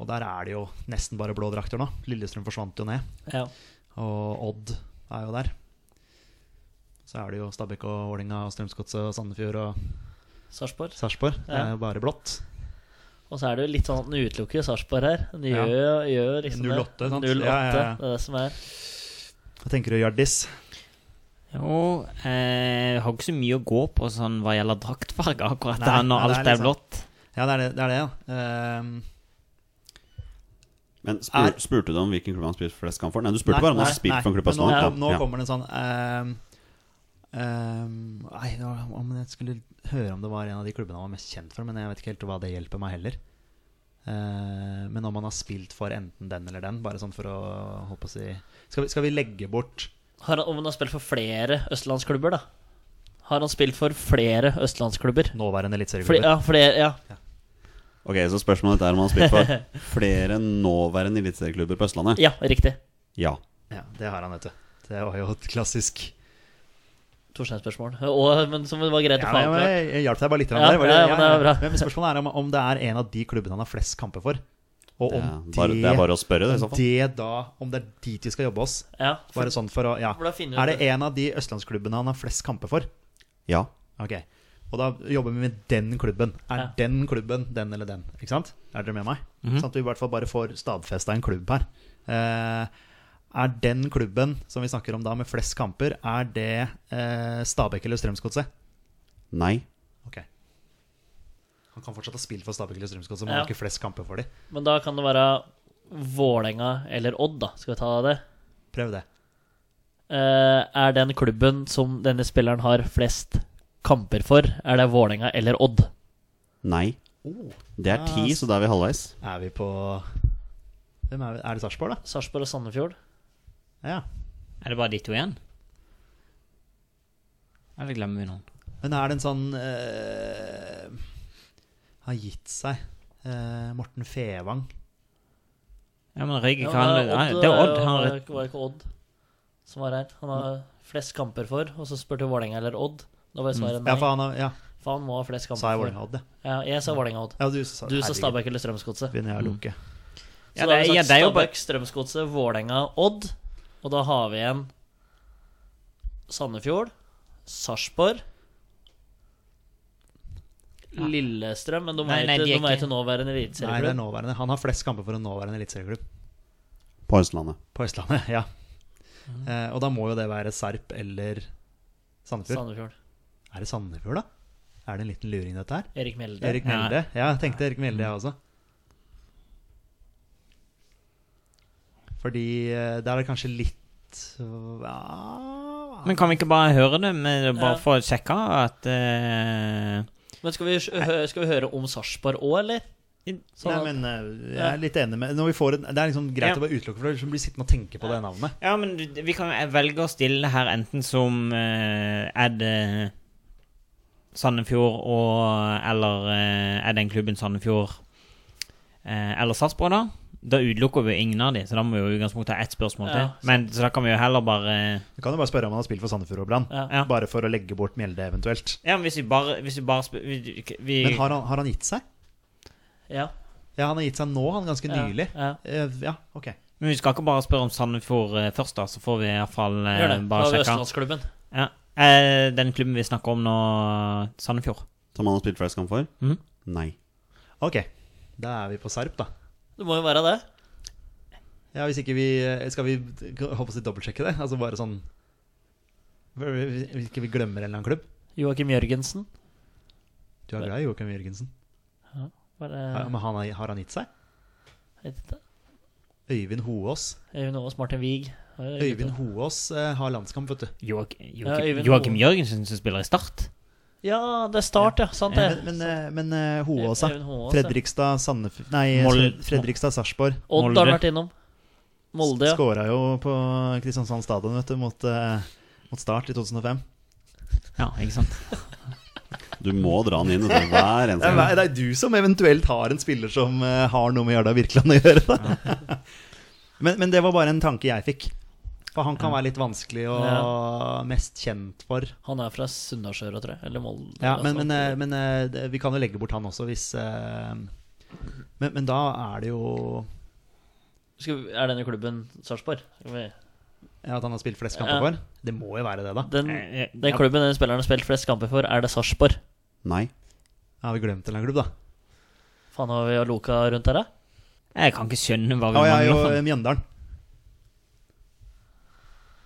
S2: og der er det jo nesten bare blå drakter nå. Lillestrøm forsvant jo ned,
S4: Ja.
S2: og Odd er jo der. Så er det jo Stabæk og Vålerenga og Strømsgodset og Sandefjord og
S4: Sarpsborg.
S2: Sarpsborg. Det er
S4: Ja.
S2: jo bare blått.
S4: Og så er det jo litt sånn at den utelukker jo Sarpsborg her. Den
S2: Ja.
S4: gjør, jo- gjør jo liksom
S2: 08, sant?
S4: det. 08,
S2: Ja, ja, ja.
S4: Det er det som er.
S2: Hva tenker du, Hjardis?
S3: Jo, eh, har ikke så mye å gå på sånn hva gjelder draktfarge, akkurat
S2: Nei,
S3: da, når
S2: nei, det
S3: alt
S2: er
S3: er,
S2: litt
S3: blått.
S2: Ja, det er det, det, er det ja. Ehm,
S1: Men spur,
S2: Er-
S1: spurte du om hvilken klubb han har spilt flest kamper for? Nei, du spurte
S2: Nei,
S1: bare om han har
S2: nei,
S1: spilt
S2: nei,
S1: for en klubb på
S2: men nå,
S1: Østlandet.
S2: Nå
S1: Ja.
S2: kommer det en sånn ehm, ehm, Nei, det var- om jeg skulle høre om det var en av de klubbene han var mest kjent for, men jeg vet ikke helt hva det hjelper meg heller. Eh, men om han har spilt for enten den eller den, bare sånn for å holdt på å si skal vi, skal vi legge bort
S4: Har han, om han har spilt for flere østlandsklubber, da? Har han spilt for flere østlandsklubber?
S2: nåværende
S4: Fordi,
S2: eliteserieklubber?
S4: ja, flere, ja.
S1: Ok, så spørsmålet er om han har spilt for flere nåværende eliteserieklubber på Østlandet?
S4: ja, riktig.
S1: Ja.
S2: Ja, det har han, vet du. Det var jo et klassisk
S4: Torstein-spørsmål. Og- Men som det var greit å
S2: Ja,
S4: få
S2: men jeg,
S4: avklart.
S2: jeg, jeg hjalp deg bare litt.
S4: Ja,
S2: der, var det,
S4: ja, men det er bra.
S2: Men spørsmålet er om, om det er en av de klubbene han har flest kamper for. Og
S1: Det
S2: om
S1: er bare, det er bare å spørre, det, i så fall.
S2: det da, om det er dit vi skal jobbe oss.
S4: Ja, for,
S2: Bare sånn for å, ja.
S4: for da finner
S2: Er
S4: du
S2: det en av de østlandsklubbene han har flest kamper for?
S1: Ja.
S2: Ok. Og da jobber vi med den klubben. Er
S4: Ja.
S2: den klubben den eller den? Ikke sant? Er dere med meg?
S1: Mhm.
S2: Sånn at vi i hvert fall bare får stadfesta en klubb her. Eh, er den klubben som vi snakker om da, med flest kamper, er det eh, Stabæk eller Strømsgodset?
S1: Nei.
S2: Ok. Han kan fortsatt ha spilt for Stabæk eller Strømsgodset, men
S4: Ja.
S2: han har ikke flest kamper for dem.
S4: Men da kan det være Vålerenga eller Odd, da. Skal vi ta det?
S2: Prøv det.
S4: Eh, er den klubben som denne spilleren har flest kamper for, er det Vålerenga eller Odd?
S1: Nei. Oh, Det er ti, så da er vi halvveis.
S2: Er vi på Hvem er, vi? er det Sarpsborg, da?
S4: Sarpsborg og Sandefjord?
S2: Ja.
S3: Er det bare de to igjen? Eller glemmer vi noen?
S2: Men er det en sånn eh, Har gitt seg. Eh, Morten Fevang.
S3: Ja, men Røyke
S4: Ja,
S3: kan
S4: Odd, eh,
S3: Nei, Det er Odd. Han har
S4: var
S3: rett.
S4: ikke- var ikke Odd som var her. Han har flest kamper for, og så spurte Vålerenga eller Odd. Da
S3: Mm.
S4: var svaret nei.
S2: Ja, for han har, ja,
S4: for han må ha flest kamper
S2: sa jeg
S4: for.
S2: Vålerenga hadde det.
S4: Ja, jeg sa Vålerenga Odd.
S2: Ja, du sa,
S4: Du sa
S2: herregud,
S4: Stabæk Mm. eller
S2: Begynner
S4: Strømsgodset.
S2: jeg å lunke.
S3: Ja,
S4: Så da har
S3: det er-
S4: vi
S3: ja,
S4: sagt
S3: det er jo bare-
S4: Stabæk, Strømsgodset, Vålerenga, Odd. Og da har vi igjen Sandefjord, Sarpsborg Lillestrøm, men de
S3: Nei,
S4: er
S3: nei,
S4: ikke-
S3: de
S4: de
S3: er
S4: er
S3: ikke-
S4: ikke nåværende
S2: Nei, det er
S4: eliteserieklubb.
S2: nåværende. Han har flest kamper for en nåværende eliteserieklubb.
S1: På Østlandet.
S2: På Østlandet, ja.
S4: Mm.
S2: Eh, og da må jo det være Sarp eller Sandefjord.
S4: Sandefjord.
S2: Er det Sandefjord, da? Er det en liten luring, dette her?
S4: Erik Mjelde.
S2: Erik
S3: Ja.
S2: Mjelde? Ja, jeg tenkte Erik Mjelde, jeg også. Fordi eh, der er det kanskje litt ja.
S3: Men kan vi ikke bare høre det, med, bare
S4: Ja.
S3: for å sjekke at eh,
S4: Men skal vi, hø- skal vi høre om Sarpsborg òg, eller?
S2: Nei, men eh, jeg er litt enig med Når vi får en, Det er liksom greit
S3: Ja.
S2: å være utelukket, for du blir sittende og tenke på det navnet.
S3: Ja, men du- vi kan jo eh, velge å stille her enten som eh, Er det Sandefjord og Eller eh, er den klubben Sandefjord eh, eller Sarpsborg, da? Da utelukker vi jo ingen av de, så da må vi jo i utgangspunktet ha ett spørsmål
S4: Ja,
S3: til. Men så da kan vi jo heller bare
S2: Du kan jo bare spørre om han har spilt for Sandefjord og Brann.
S4: Ja.
S3: Ja.
S2: Bare for å legge bort Mjelde, eventuelt.
S3: Ja, men hvis vi bare, hvis vi bare spør, vi, vi,
S2: Men har han, har han gitt seg?
S4: Ja.
S2: Ja, han har gitt seg nå, han ganske
S4: Ja,
S2: nylig.
S4: ja.
S2: Eh, ja ok.
S3: men vi skal ikke bare spørre om Sandefjord eh, først, da, så får vi i hvert fall eh,
S4: Gjør det. Da
S3: bare
S4: har vi
S3: sjekke.
S4: Østlandsklubben.
S3: Ja. Eh, den klubben vi snakker om nå, Sandefjord.
S1: Som han har spilt flest kamper for?
S2: Mm.
S3: Mhm.
S1: Nei.
S2: Ok, da er vi på Sarp, da.
S4: Det må jo være det.
S2: Ja, hvis ikke vi eh, Skal vi håper å dobbeltsjekke det? Altså bare sånn Hvis ikke vi glemmer en eller annen klubb?
S4: Joakim Jørgensen.
S2: Du er glad i Joakim Jørgensen.
S4: Var
S2: Ja,
S4: det
S2: men han, har- har han gitt seg?
S4: Jeg vet ikke.
S2: Øyvind Hoås.
S4: Øyvind Aas, Martin Wiig. Har jo-
S2: Øyvind Hoås eh, har landskamp, vet du.
S3: Joak-
S4: Ja,
S3: Joakim
S4: Øyvind
S3: Joakim
S4: Hoel.
S3: Jørgensen som spiller i Start?
S4: Ja, det er Start, ja. Sant det.
S2: Men, men, eh, men eh, Hoås, da.
S4: Øyvind Hoås, ja.
S2: Fredrikstad, Sandefjord Nei,
S3: Mol-
S2: Fredrikstad, Sarpsborg.
S4: Odd har
S3: Molde.
S4: vært innom. Molde, ja.
S2: Skåra jo på Kristiansand stadion, vet du, mot, eh, mot Start i 2005.
S3: Ja, ikke sant?
S1: Du må dra han inn vet du, hver
S2: Det
S1: eneste
S2: er,
S1: gang.
S2: det er du som eventuelt har en spiller som eh, har noe med Jarda Birkeland å gjøre. Da. men, men det var bare en tanke jeg fikk. For han kan være litt vanskelig og mest kjent for.
S4: Han er fra Sunnasjøra, tror jeg. Eller Molde.
S2: Ja,
S4: eller
S2: men
S4: noe
S2: men, eh,
S4: sånt.
S2: men eh, det- vi kan jo legge bort han også, hvis eh, men, men da er det jo
S4: Skal vi, er denne klubben Sarpsborg? Skal vi-
S2: ja, at han har spilt flest
S4: Ja.
S2: kamper for. Det må jo være det, da.
S4: Den,
S3: Eh, eh,
S4: den
S3: ja.
S4: klubben den spilleren har spilt flest kamper for, er det Sarpsborg?
S1: Nei.
S2: Har vi glemt en eller annen klubb, da?
S4: Faen, har vi Aloka rundt her, da?
S3: Jeg kan ikke skjønne hva vi
S2: Å, jeg er jo
S3: mangler.
S2: eh, Mjøndalen.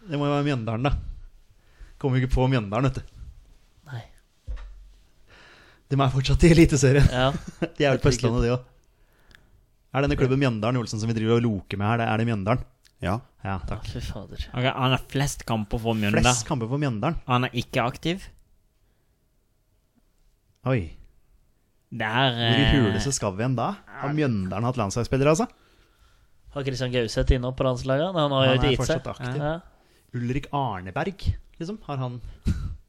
S2: Det må jo være Mjøndalen, da. Kommer jo ikke på Mjøndalen, vet du.
S4: Nei.
S2: De er fortsatt i Eliteserien.
S4: Ja.
S2: De er vel på Østlandet, de òg. Er denne klubben Mjøndalen Olsen som vi driver og loker med her, det er det Mjøndalen?
S1: Ja.
S2: Ja,
S4: Ja,
S2: takk.
S4: Fy fader.
S3: Ok, han har flest kamper for Mjønda.
S2: Flest kamper for Mjøndalen.
S3: Han er ikke aktiv.
S2: Oi.
S3: Det er
S2: Hvor i
S3: eh,
S2: huleste skal vi igjen da? Har Mjøndalen hatt landslagsspillere, altså?
S4: Har Christian Gauseth inne på landslaget? Nei, Han har jo
S2: Han
S4: ikke
S2: er
S4: gitt seg.
S2: fortsatt aktiv.
S4: Ja.
S2: Ulrik Arneberg, liksom? Har han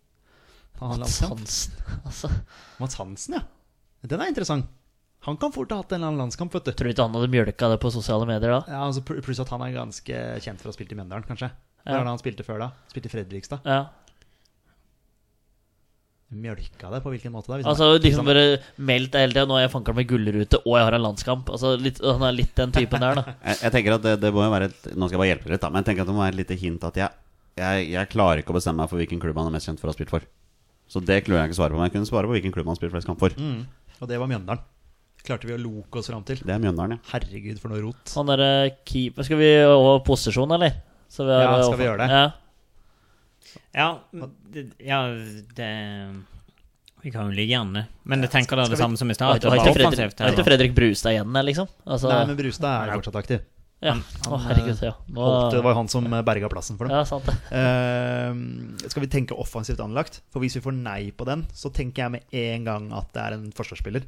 S2: Har han
S4: Mats
S2: landskamp?
S4: Hansen, altså.
S2: Mats Hansen, ja. Den er interessant. Han kan fort ha hatt en eller annen landskamp, vet du.
S4: Tror du ikke han hadde mjølka det på sosiale medier da?
S2: Ja, altså pl- Pluss at han er ganske kjent for å ha spilt i Mjøndalen, kanskje. Hvor
S4: Ja.
S2: er det han spilte før, da? Spilte i Fredrikstad.
S4: Ja.
S2: mjølka det på hvilken måte det er. hvis han-
S4: Altså liksom
S2: hvis han-
S4: bare meldt deg hele tida. 'Nå er jeg fanka med gullrute, og jeg har en landskamp.' Altså litt, Han er litt den typen der, da.
S1: Jeg, jeg tenker at det, det må jo være et, Nå skal jeg bare hjelpe litt, da. Men jeg tenker at det må være et lite hint at jeg, jeg, jeg klarer ikke å bestemme meg for hvilken klubb han er mest kjent for å ha spilt for. Så det klarer jeg ikke å svare på. Men jeg kunne svare på hvilken klubb han har spilt flest kamp for.
S2: Mm. Og det var Mjøndalen. Klarte vi å loke oss fram til.
S1: Det er Mjøndalen, ja.
S2: Herregud, for noe rot.
S4: Han derre keeper Skal vi over posisjon, eller? Så vi har-
S2: Ja, skal vi gjøre det?
S4: Ja.
S3: Ja, det, ja det Vi kan jo ligge gjerne Men jeg tenker det er det
S2: skal
S3: samme
S2: vi-
S3: som i
S4: Har
S3: stad. at
S4: ikke
S3: Det var
S4: Fredrik,
S3: offensivt.
S4: har ikke
S3: her.
S4: Fredrik Brustad igjen, der, liksom? Altså,
S2: Nei, men Brustad er jo fortsatt aktiv.
S4: ja. Å, herregud, ja.
S2: Holdt, det
S4: Nå,
S2: var jo han som eh, berga plassen for dem.
S4: ja, sant det.
S2: Eh, skal vi tenke offensivt anlagt? For hvis vi får nei på den, så tenker jeg med en gang at det er en forsvarsspiller.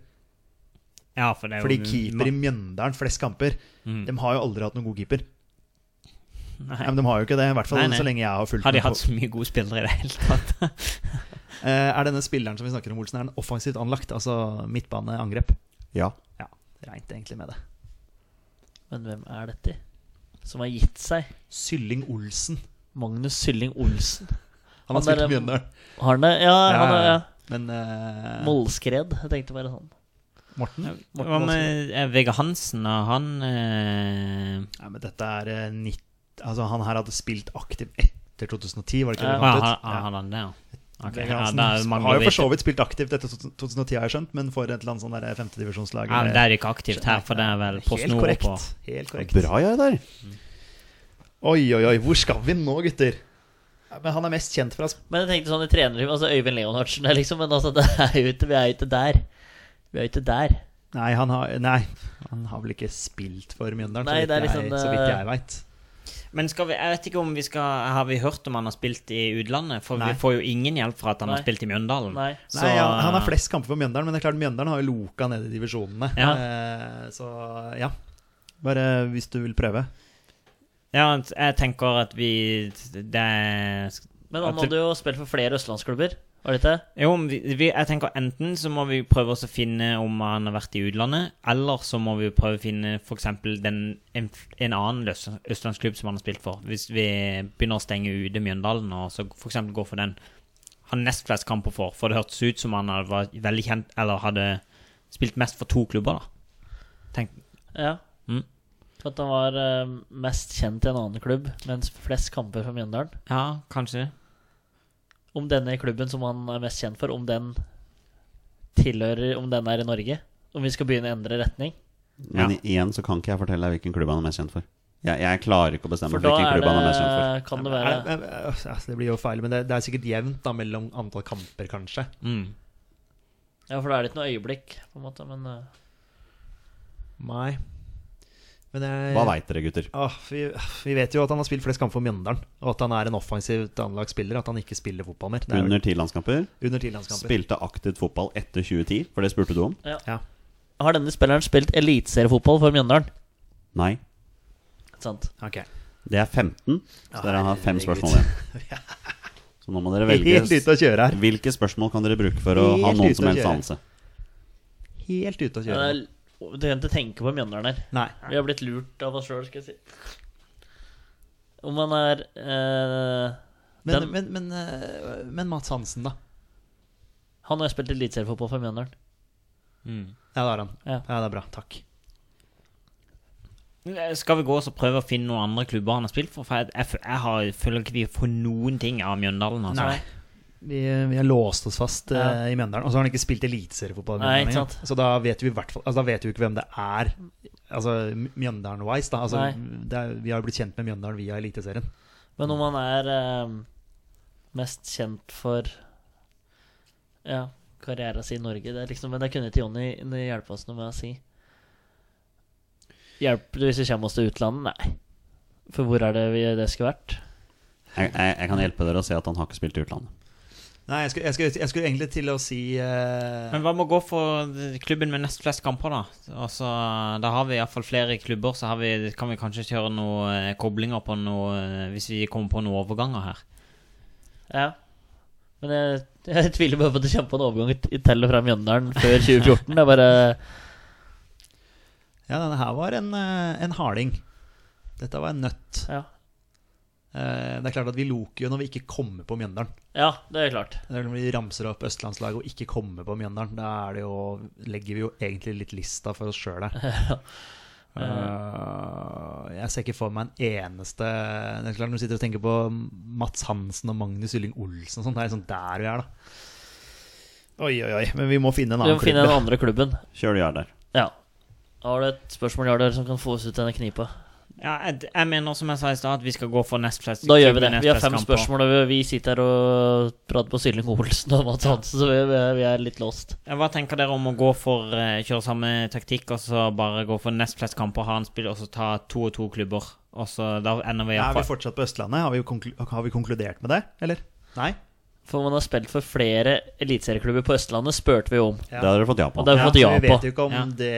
S3: Ja, for det er jo Mm.
S2: Fordi keeper i Mjøndalen flest kamper, de har jo aldri hatt noen god keeper. Nei, men de har jo ikke det, i hvert fall
S3: Nei, nei.
S2: så lenge jeg har fulgt
S3: Har de
S2: med på-
S3: hatt så mye gode spillere i det hele tatt?
S2: Eh, er denne spilleren som vi snakker om, Olsen, er den offensivt anlagt? Altså midtbaneangrep?
S1: Ja.
S2: Ja, regnet egentlig med det.
S4: Men hvem er dette som har gitt seg?
S2: Sylling Olsen.
S4: Magnus Sylling Olsen.
S2: Han har
S4: Han
S2: spilt i
S4: der-
S2: Mjøndalen.
S3: eh,
S4: Har han det? Ja, han er, ja.
S2: Men eh,
S4: Mollskred. Jeg tenkte bare sånn.
S2: Morten?
S3: Hva med eh, Vegard Hansen og han eh,
S2: Nei, men dette er eh, 90 Altså, han her hadde spilt aktiv etter 2010, var det ikke
S4: Ja.
S3: Å,
S2: det? vi fant ut?
S3: ja, han, han, han der. Ok,
S2: Vegard
S3: ja,
S2: Hansen
S3: da er det mange
S2: har jo
S3: å
S2: for
S3: vite.
S2: så vidt spilt aktivt etter 2010, har jeg skjønt, men for et eller annet sånn der femtedivisjonslag
S3: Ja, men Det er ikke aktivt her, for det er vel på
S2: Helt
S3: snor
S2: korrekt.
S3: på.
S2: Helt korrekt.
S1: Bra, jeg, der.
S2: Oi, oi, oi. Hvor skal vi nå, gutter? Ja, Men han er mest kjent for å ha
S4: Men jeg tenkte sånn i trenerlivet, altså Øyvind Leonhardsen der, liksom. Men altså, det er jo ikke, vi er jo ikke der. Vi er jo ikke der.
S2: Nei, han har, nei, han har vel ikke spilt for Mjøndalen,
S4: Nei,
S2: så,
S4: det er
S2: vidt
S4: liksom,
S2: jeg, så vidt
S4: eh,
S2: jeg veit.
S3: Men skal vi, jeg vet ikke om vi skal Har vi hørt om han har spilt i utlandet? For
S2: Nei.
S3: vi får jo ingen hjelp fra at han har
S4: Nei.
S3: spilt i Mjøndalen.
S4: Nei.
S3: Så-
S2: Nei, han, han har flest kamper for Mjøndalen, men det er klart Mjøndalen har jo loka ned i divisjonene.
S3: Ja.
S2: Eh, så ja. Bare hvis du vil prøve.
S3: Ja, jeg tenker at vi Det
S4: Men han
S3: At det-
S4: hadde jo spilt for flere østlandsklubber, var det ikke?
S3: Jo, men vi, vi, jeg tenker enten så må vi prøve oss å finne om han har vært i utlandet, eller så må vi prøve å finne f.eks. en, en annen løs- østlandsklubb som han har spilt for. Hvis vi begynner å stenge ute Mjøndalen og så f.eks. gå for den han nest flest kamper for, for det hørtes ut som han hadde- var veldig kjent, eller hadde spilt mest for to klubber, da. Tenk,
S4: Ja.
S3: Mm.
S4: For at han var eh, mest kjent i en annen klubb, mens flest kamper for Mjøndalen.
S3: ja, kanskje.
S4: Om denne klubben som han er mest kjent for, om den tilhører Om den er i Norge. Om vi skal begynne å endre retning.
S1: Men
S3: Ja.
S1: igjen så kan ikke jeg fortelle deg hvilken klubb han er mest kjent for. Jeg, jeg klarer ikke å bestemme
S4: For
S1: for
S4: da
S1: hvilken
S4: er
S1: klubb
S4: det,
S1: han er mest kjent for.
S4: kan det
S2: Er,
S4: være
S2: er, er, altså, det blir jo feil, men det, det er sikkert jevnt da mellom antall kamper, kanskje.
S3: Mm.
S4: Ja, for da er det ikke noe øyeblikk, på en måte. Men eh,
S2: Nei. Men jeg,
S1: Hva veit dere, gutter?
S2: Åh, vi, vi vet jo at han har spilt flest kamper for Mjøndalen, og at han er en offensivt anlagt spiller. At han ikke spiller fotball mer. Det er jo-
S1: Under ti landskamper.
S2: under ti landskamper.
S1: Spilte aktivt fotball etter 2010, for det spurte du om.
S4: har denne spilleren spilt eliteseriefotball for Mjøndalen?
S1: Nei.
S4: Ikke sant?
S2: Ok.
S1: Det er 15, så dere har fem
S2: herregud.
S1: spørsmål igjen. Så nå må dere
S2: Helt
S1: velge
S2: ute å kjøre her.
S1: hvilke spørsmål kan dere bruke for å ha
S2: Helt
S1: noen
S2: ute
S1: som
S2: å
S1: helst
S2: kjøre.
S1: anelse.
S2: Helt ute å
S4: Ja,
S2: kjøre.
S4: det er, du kan ikke tenke på Mjøndalen her.
S2: Nei.
S4: Vi har blitt lurt av oss sjøl, skal jeg si. Om han er eh,
S2: Men,
S4: den,
S2: men, men, eh, men Mats Hansen, da?
S4: Han har spilt eliteseriefotball for Mjøndalen.
S3: mm.
S2: Ja, det har han.
S4: Ja.
S2: Ja. det er bra. Takk.
S3: eh, Skal vi gå og så prøve å finne noen andre klubber han har spilt for? For jeg, jeg, fø- jeg har, føler ikke vi får noen ting av Mjøndalen. Altså.
S4: Nei.
S2: Vi, vi har låst oss fast eh,
S4: Ja.
S2: i Mjøndalen. Og så har han ikke spilt eliteseriefotball. i
S4: Nei,
S2: Mjøndalen
S4: ikke
S2: engang. Så da vet vi i hvert fall altså, Da vet vi jo ikke hvem det er. Altså Mjøndalen-wise, da. Altså, det er, vi har jo blitt kjent med Mjøndalen via Eliteserien.
S4: Men om han er eh, mest kjent for Ja, karriera si i Norge det er liksom, Men det kunne ikke Jonny Jonny hjelpe oss noe med å si. Hjelper det hvis vi kommer oss til utlandet? Nei. For hvor er det vi, det skulle vært?
S1: Jeg, jeg, jeg kan hjelpe dere å se at han har ikke spilt i utlandet.
S2: Nei, jeg skulle, jeg skulle, jeg skulle egentlig til å si eh,
S3: Men hva med å gå for klubben med nest flest kamper, da? Altså, da har vi iallfall flere klubber, så har vi, kan vi kanskje kjøre noen eh, koblinger på noe eh, Hvis vi kommer på noen overganger her.
S4: Ja. Men jeg, jeg tviler bare på at det kommer på en overgang i- i tell og fra Mjøndalen før 2014. Det er bare
S2: Ja, denne her var en, eh, en harding. Dette var en nøtt.
S4: Ja.
S2: Eh, Eh, Det er klart at vi loker jo når vi ikke kommer på Mjøndalen.
S4: Ja, det er klart.
S2: Det er Når vi ramser opp østlandslaget og ikke kommer på Mjøndalen, da er det jo, legger vi jo egentlig litt lista for oss sjøl her. Eh, jeg ser ikke for meg en eneste Det er klart Når du sitter og tenker på Mats Hansen og Magnus Ylling Olsen og sånn, det er liksom der vi er, da. Oi, oi, oi. Men vi må finne en
S4: Vi
S2: annen
S4: må finne
S2: klubb.
S4: den andre klubben.
S1: Kjør det der.
S4: Ja. Har du et spørsmål Jardar, som kan få oss ut av denne knipa?
S3: Ja, jeg, jeg mener som jeg sa i stad, at vi skal gå for nest flest.
S4: Da gjør vi det.
S3: nest
S4: Vi har
S3: flest
S4: fem
S3: kamper.
S4: spørsmål, og vi- vi sitter her og prater på Sylling Olsen og Mads Hansen, så vi, vi- vi er litt låst.
S3: Ja, Hva tenker dere om å gå for eh, kjøre samme taktikk, og så bare gå for nest flest kamper, ha en spill, og så ta to og to klubber? Og så Da ender vi
S2: Er vi
S3: iallfall
S2: fortsatt på Østlandet? Har vi, konklu har vi konkludert med det, eller? Nei?
S4: For man har spilt for flere eliteserieklubber på Østlandet, spurte vi jo om.
S1: Det har dere fått ja på.
S4: Og det har vi fått ja
S2: så vi vet
S4: på.
S2: jo ikke om
S3: Ja.
S2: det,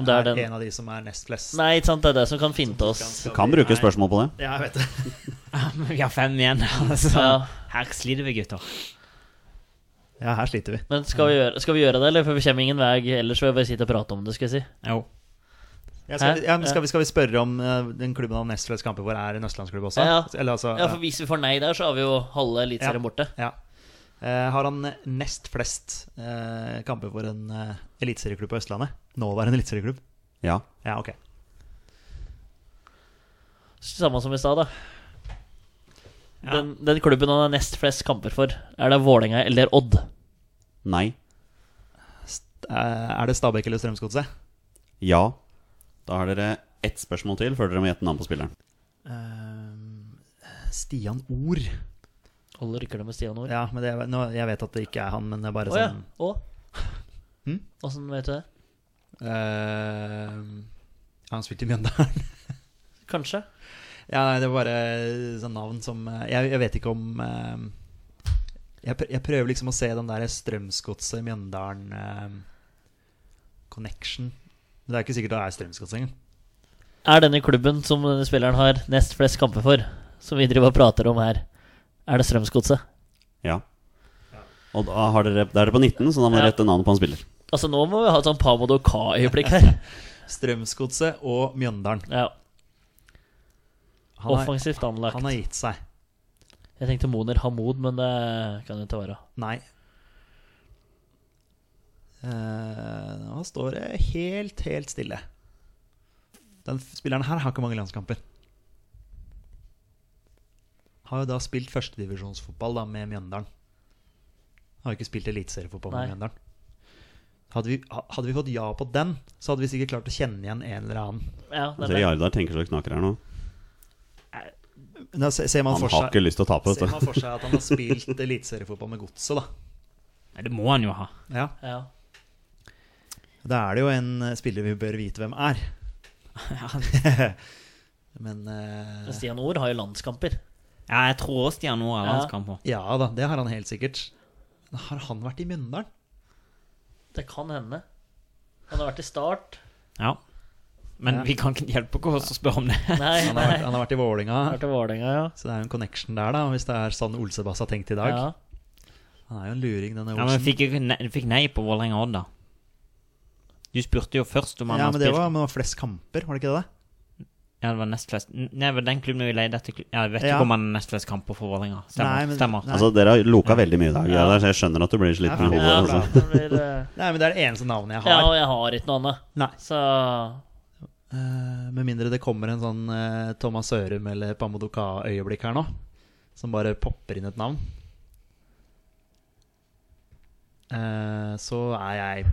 S4: Om det er
S2: er,
S4: den.
S2: en av de som er nest flest.
S4: Nei, ikke sant, det er det som kan finte oss.
S1: Kan bruke spørsmål på det.
S2: Ja, jeg vet det.
S3: Vi har fem igjen, altså.
S4: Ja.
S3: Her sliter vi, gutter.
S2: Ja, her sliter vi.
S4: Men skal vi, gjøre, skal vi gjøre det, eller? For vi kommer ingen vei ellers. Vil jeg bare sitte og prate om det, skal jeg si.
S3: Jo.
S2: Ja, skal,
S4: Hæ?
S2: vi, ja, men skal, vi, skal vi spørre om eh, den klubben av nest flest kamper vår er en østlandsklubb også?
S4: Ja.
S2: Eller altså
S4: Ja, for hvis vi får nei der, så har vi jo halve eliteserien
S2: Ja.
S4: borte.
S2: ja. Eh, Har han nest flest eh, kamper for en eh, eliteserieklubb på Østlandet? Nåværende eliteserieklubb?
S1: Ja.
S2: Ja, ok. Eh,
S4: Samme som i stad, da.
S3: Ja.
S4: Den, den klubben han har nest flest kamper for, er det Vålerenga eller Odd?
S1: Nei.
S2: St- eh, Er det Stabæk eller Strømsgodset?
S1: Ja. Da har dere ett spørsmål til før dere må gjette navnet på spilleren.
S2: Eh, Stian Ord.
S4: Alle rykker det med Stian Ord.
S2: Ja, men det, nå, jeg vet at det ikke er han, men det er
S4: Å
S2: bare
S4: ja.
S2: sånn
S4: Og?
S2: Hm?
S4: Åssen vet du det?
S2: sånn, eh, Han spilte i Mjøndalen.
S4: Kanskje?
S2: Ja, nei, det var bare sånn navn som eh, Jeg, jeg vet ikke om eh, jeg, pr- jeg prøver liksom å se den der Strømsgodset-Mjøndalen-connection. Men eh, det er ikke sikkert det er Strømsgodset engang.
S4: Er denne klubben som denne spilleren har nest flest kamper for, som vi driver og prater om her, er det Strømsgodset?
S1: Ja. Og da, har dere, da er dere på 19, så da må dere
S4: Ja.
S1: gjette navnet på en spiller.
S4: Altså, nå må vi ha et sånn Pamodo Ka-øyeblikk her.
S2: Strømsgodset og Mjøndalen.
S4: Ja,
S2: Han har,
S4: Offensivt anlagt.
S2: han har gitt seg.
S4: Jeg tenkte Moner Hamoud, men det kan jo ikke være.
S2: Nei. Eh, nå står det helt, helt stille. Den f- spilleren her har ikke mange landskamper. Har jo da spilt førstedivisjonsfotball da med Mjøndalen. Har jo ikke spilt eliteseriefotball med
S4: Nei.
S2: Mjøndalen. Hadde vi, ha- hadde vi fått ja på den, så hadde vi sikkert klart å kjenne igjen en eller annen.
S4: Ja, det
S1: Dere
S4: er det.
S1: Jardar tenker så det knaker her nå.
S2: Men da se- ser man,
S1: Han
S2: for
S1: har
S2: seg,
S1: ikke lyst til å tape,
S2: ser
S1: vet
S2: man
S1: du.
S2: for seg at han har spilt eliteseriefotball med Godset, da.
S3: Nei, Det må han jo ha.
S2: Ja.
S4: Ja.
S2: Da er det jo en eh, spiller vi bør vite hvem er. Men eh,
S4: Men Stian Ord har jo landskamper.
S3: Ja, jeg tror også Stian Noah har
S4: Ja.
S3: landskamp på.
S2: Ja da, det har han helt sikkert. Men Har han vært i Mjøndalen?
S4: Det kan hende. Han har vært i Start.
S3: Ja. Men vi kan ikke hjelpe oss å spørre om det.
S4: Nei,
S2: Han
S4: nei.
S2: har vært, han har vært i Vålinga.
S4: Han har vært i Vålerenga, ja.
S2: Så det er jo en connection der, da, hvis det er sånn Olsebass har tenkt i dag.
S4: ja.
S2: Han er jo en luring, denne
S3: Ja, men
S2: Olsen.
S3: fikk, jeg ne fikk nei på Vålerenga Odd, da. Du spurte jo først om han
S2: Ja,
S3: har
S2: men det
S3: spilt
S2: var, men det var flest kamper, var det ikke det?
S3: Ja, det var nest flest N- Nei, det var den klubben vi leide etter kl- Ja, jeg vet
S2: Ja.
S3: ikke om han er nest flest kamper for Vålerenga. Stemmer.
S2: Nei, men-
S3: Stemmer.
S2: nei.
S1: Altså, dere har loka veldig mye i dag, Jardar, så jeg skjønner at du blir sliten i
S2: Ja,
S1: hodet.
S4: Ja,
S1: Altså.
S4: det blir, eh,
S2: Nei, men det er det eneste navnet jeg
S4: ja,
S2: har.
S4: og jeg har ikke noe annet.
S2: Nei.
S4: Så
S2: Eh, med mindre det kommer en sånn eh, Thomas Sørum eller Pamodoka-øyeblikk her nå, som bare popper inn et navn. Eh, så er jeg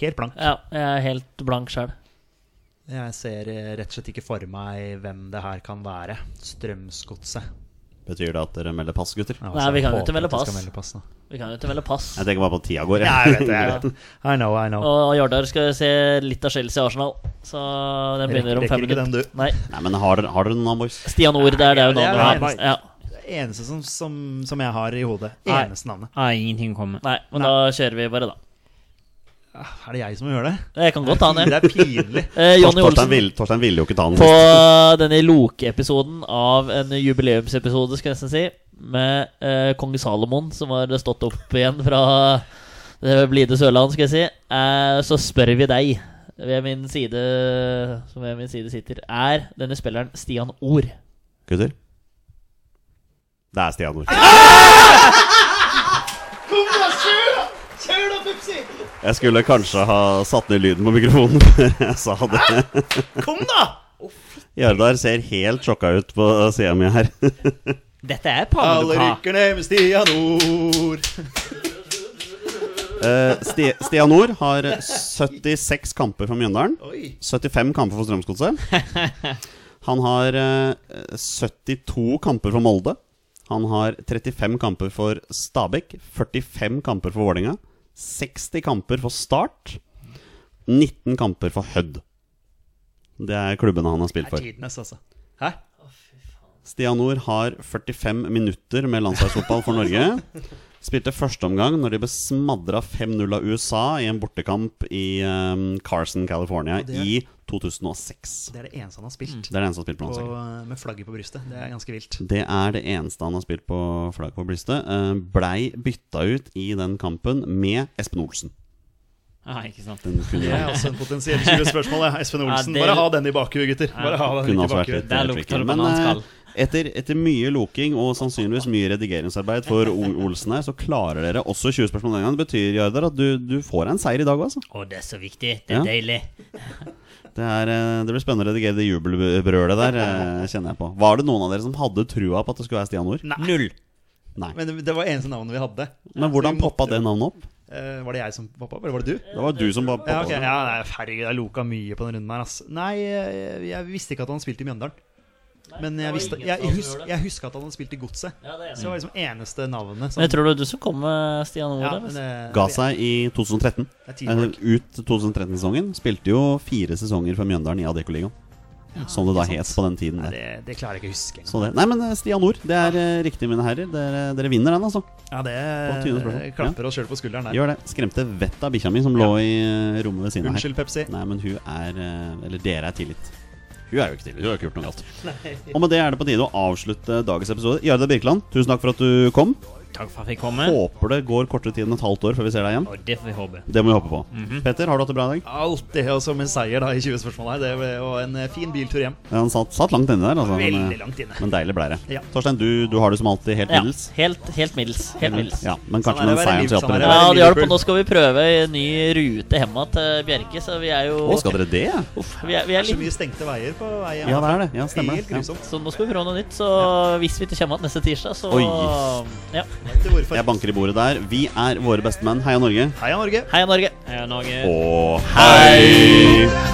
S2: helt blank.
S4: ja, jeg er helt blank sjøl.
S2: Jeg ser eh, rett og slett ikke for meg hvem det her kan være. Strømsgodset.
S1: Betyr det at dere melder pass, gutter?
S2: Altså,
S4: Nei, vi kan jo
S2: jeg
S4: ikke
S2: håper
S4: melde
S2: at jeg skal
S4: pass.
S2: da.
S4: Vi kan jo ikke melde pass.
S1: Jeg tenker bare på at tida går.
S2: Ja,
S1: jeg.
S2: jeg vet det. jeg vet I know, I know.
S4: Og Jardar skal se litt av Chelsea og Arsenal. Så den begynner om
S2: Rekker
S4: fem
S2: ikke den,
S4: minutter.
S2: du.
S4: Nei,
S1: Nei, men har dere, har dere noen, boys?
S4: Stian Ord, det er det jo
S2: det er
S4: navnet
S2: det
S4: hans.
S2: eneste.
S4: Ja.
S2: Det eneste som, som, som jeg har i hodet.
S3: Nei.
S2: Eneste navnet.
S3: Ah, ingenting å komme.
S4: Nei, men da kjører vi bare, da.
S2: Er det jeg som gjør det?
S4: Jeg kan godt ta han,
S2: Det
S4: jeg.
S2: er pinlig.
S4: Eh, Jonny
S1: Torstein
S4: Olsen.
S1: ville, Torstein ville jo ikke ta den.
S4: På eh,
S1: sist.
S4: denne Loke-episoden av en jubileumsepisode, skal jeg nesten si, med eh, kong Salomon, som har stått opp igjen fra det blide Sørland, skal jeg si, eh, så spør vi deg, ved min side, som ved min side sitter, er denne spilleren Stian Ord?
S1: Gutter? Det er Stian Nord. Jeg skulle kanskje ha satt ned lyden på mikrofonen før jeg sa det.
S2: Kom, da!
S1: Jardar ser helt sjokka ut på sida mi her.
S3: Dette er
S2: Alle
S3: pannekaka.
S2: rykker ned med Stian Nord.
S1: Eh, Sti- Stian Nord har 76 kamper for Mjøndalen.
S2: Oi.
S1: 75 kamper for Strømsgodset. Han har eh, 72 kamper for Molde. Han har 35 kamper for Stabæk. 45 kamper for Vålerenga. 60 kamper for Start. 19 kamper for Hødd. Det er klubbene han har
S2: Det
S1: spilt
S2: er
S1: for.
S2: tidenes, altså. Hæ?
S1: Stian Nord har 45 minutter med landslagsfotball for Norge. Spilte førsteomgang når de ble smadra 5-0 av USA i en bortekamp i eh, Carson, California
S2: det er-
S1: i 2006.
S2: Det er det eneste han har spilt.
S1: Mm. Det er det eneste han har spilt på
S2: På,
S1: landslaget.
S2: med flagget på brystet. Det er ganske vilt.
S1: Det er det eneste han har spilt på flagg på brystet. Eh, Blei bytta ut i den kampen med Espen Olsen.
S3: Ah, ikke sant.
S1: Den
S2: Det
S1: kunne,
S2: er også en potensiell 20-spørsmål. ja. Espen Olsen,
S3: det-
S2: bare ha den i bakhuet, gutter. Bare ha den
S1: kunne
S2: litt i
S1: også vært
S2: bakhuet.
S1: litt
S3: Der
S1: eh,
S3: lukter
S1: tricky.
S3: det
S1: Men eh,
S3: bananskall.
S1: etter, etter mye loking og sannsynligvis mye redigeringsarbeid for O- Olsen her, så klarer dere også 20 spørsmål den gangen. Det betyr, Jardar, at du, du får en seier i dag òg, altså.
S3: Å, det er så viktig. Det
S1: Ja.
S3: er deilig.
S1: Det, er, eh, det blir spennende å redigere det jubelbrølet der, eh, kjenner jeg på. Var det noen av dere som hadde trua på at det skulle være Stian Ord?
S3: Null.
S1: Nei.
S2: Men det- det var eneste navnet vi hadde.
S1: Men hvordan poppa det navnet opp?
S2: Eh, var det jeg som poppa opp, eller var det du?
S1: Det var du som poppa
S2: Ja, ok.
S1: det.
S2: ja nei, herregud, jeg loka mye på den runden her, ass. Nei, jeg, jeg visste ikke at han spilte i Mjøndalen. Men jeg,
S4: det var
S2: visste,
S4: ingen
S2: jeg,
S4: som
S2: hus,
S4: gjorde det.
S2: jeg huska at han hadde spilt i Godset. Så det var liksom eneste navnet. som-
S4: Men jeg tror det var du som kom med Stian Ove.
S2: ja,
S4: der,
S2: men
S4: altså.
S2: det-
S1: Ga seg i 2013.
S2: det er
S1: Eh,
S2: teamwork.
S1: Ut 2013-sesongen. Spilte jo fire sesonger for Mjøndalen i Adeccoligaen. Som det da het på den tiden. Der.
S2: Nei, det, det klarer jeg ikke å huske.
S1: Så det. Nei, men eh, Stian Nord, det er eh, riktig, mine herrer. Dere, dere vinner den, altså.
S2: Ja,
S1: Godt tydelige spørsmål.
S2: det klapper oss sjøl på skulderen der.
S1: Gjør det. Skremte vettet av bikkja mi som lå i eh, rommet ved siden av her.
S2: Unnskyld, Pepsi.
S1: Nei, men hun er eh, Eller dere er tillit. Hun er jo ikke tillit. Hun har ikke gjort noe galt. Og med det er det på tide å avslutte dagens episode. Jarda Birkeland, tusen takk for at du kom.
S3: Takk for at jeg fikk komme.
S1: Håper det går kortere tid enn et halvt år før vi ser deg igjen.
S3: Og det får vi håpe.
S1: Det må vi håpe på. Petter, har du hatt det bra i dag?
S2: Alt det og som en seier da i 20-spørsmålet her. Det ble jo en eh, fin biltur hjem.
S1: Ja, Han satt, satt langt inne der, altså. Men, eh,
S2: Veldig langt inne.
S1: Men deilig ble det.
S2: Ja.
S1: Torstein, du, du har det som alltid helt
S4: Ja,
S1: middels.
S4: helt, helt middels. Helt middels.
S1: Ja, men kanskje med
S2: Sånn er det å
S1: den seieren
S2: være
S1: så
S2: liv,
S1: hjelper det.
S2: sånn er det å være
S4: Ja, det gjør det på.
S2: Liverpool.
S4: Nå skal vi prøve en ny rute hjem igjen til Bjerke, så vi er jo
S1: Å, skal dere det? ja?
S4: vi er, vi er
S2: Det er så
S4: litt,
S2: mye stengte veier på vei hjem.
S1: Ja, det er det. Ja, stemmer
S2: Helt
S1: det. Ja.
S2: grusomt.
S4: Så nå skal vi prøve noe nytt. Så hvis vi ikke kommer igjen neste tirsdag, så
S1: Oi.
S4: ja.
S2: Til hvorfor.
S1: Jeg banker i bordet der. Vi er våre bestemenn. Heia Norge.
S2: Heia Norge!
S4: Heia Norge.
S3: Heia Norge.
S1: Og hei!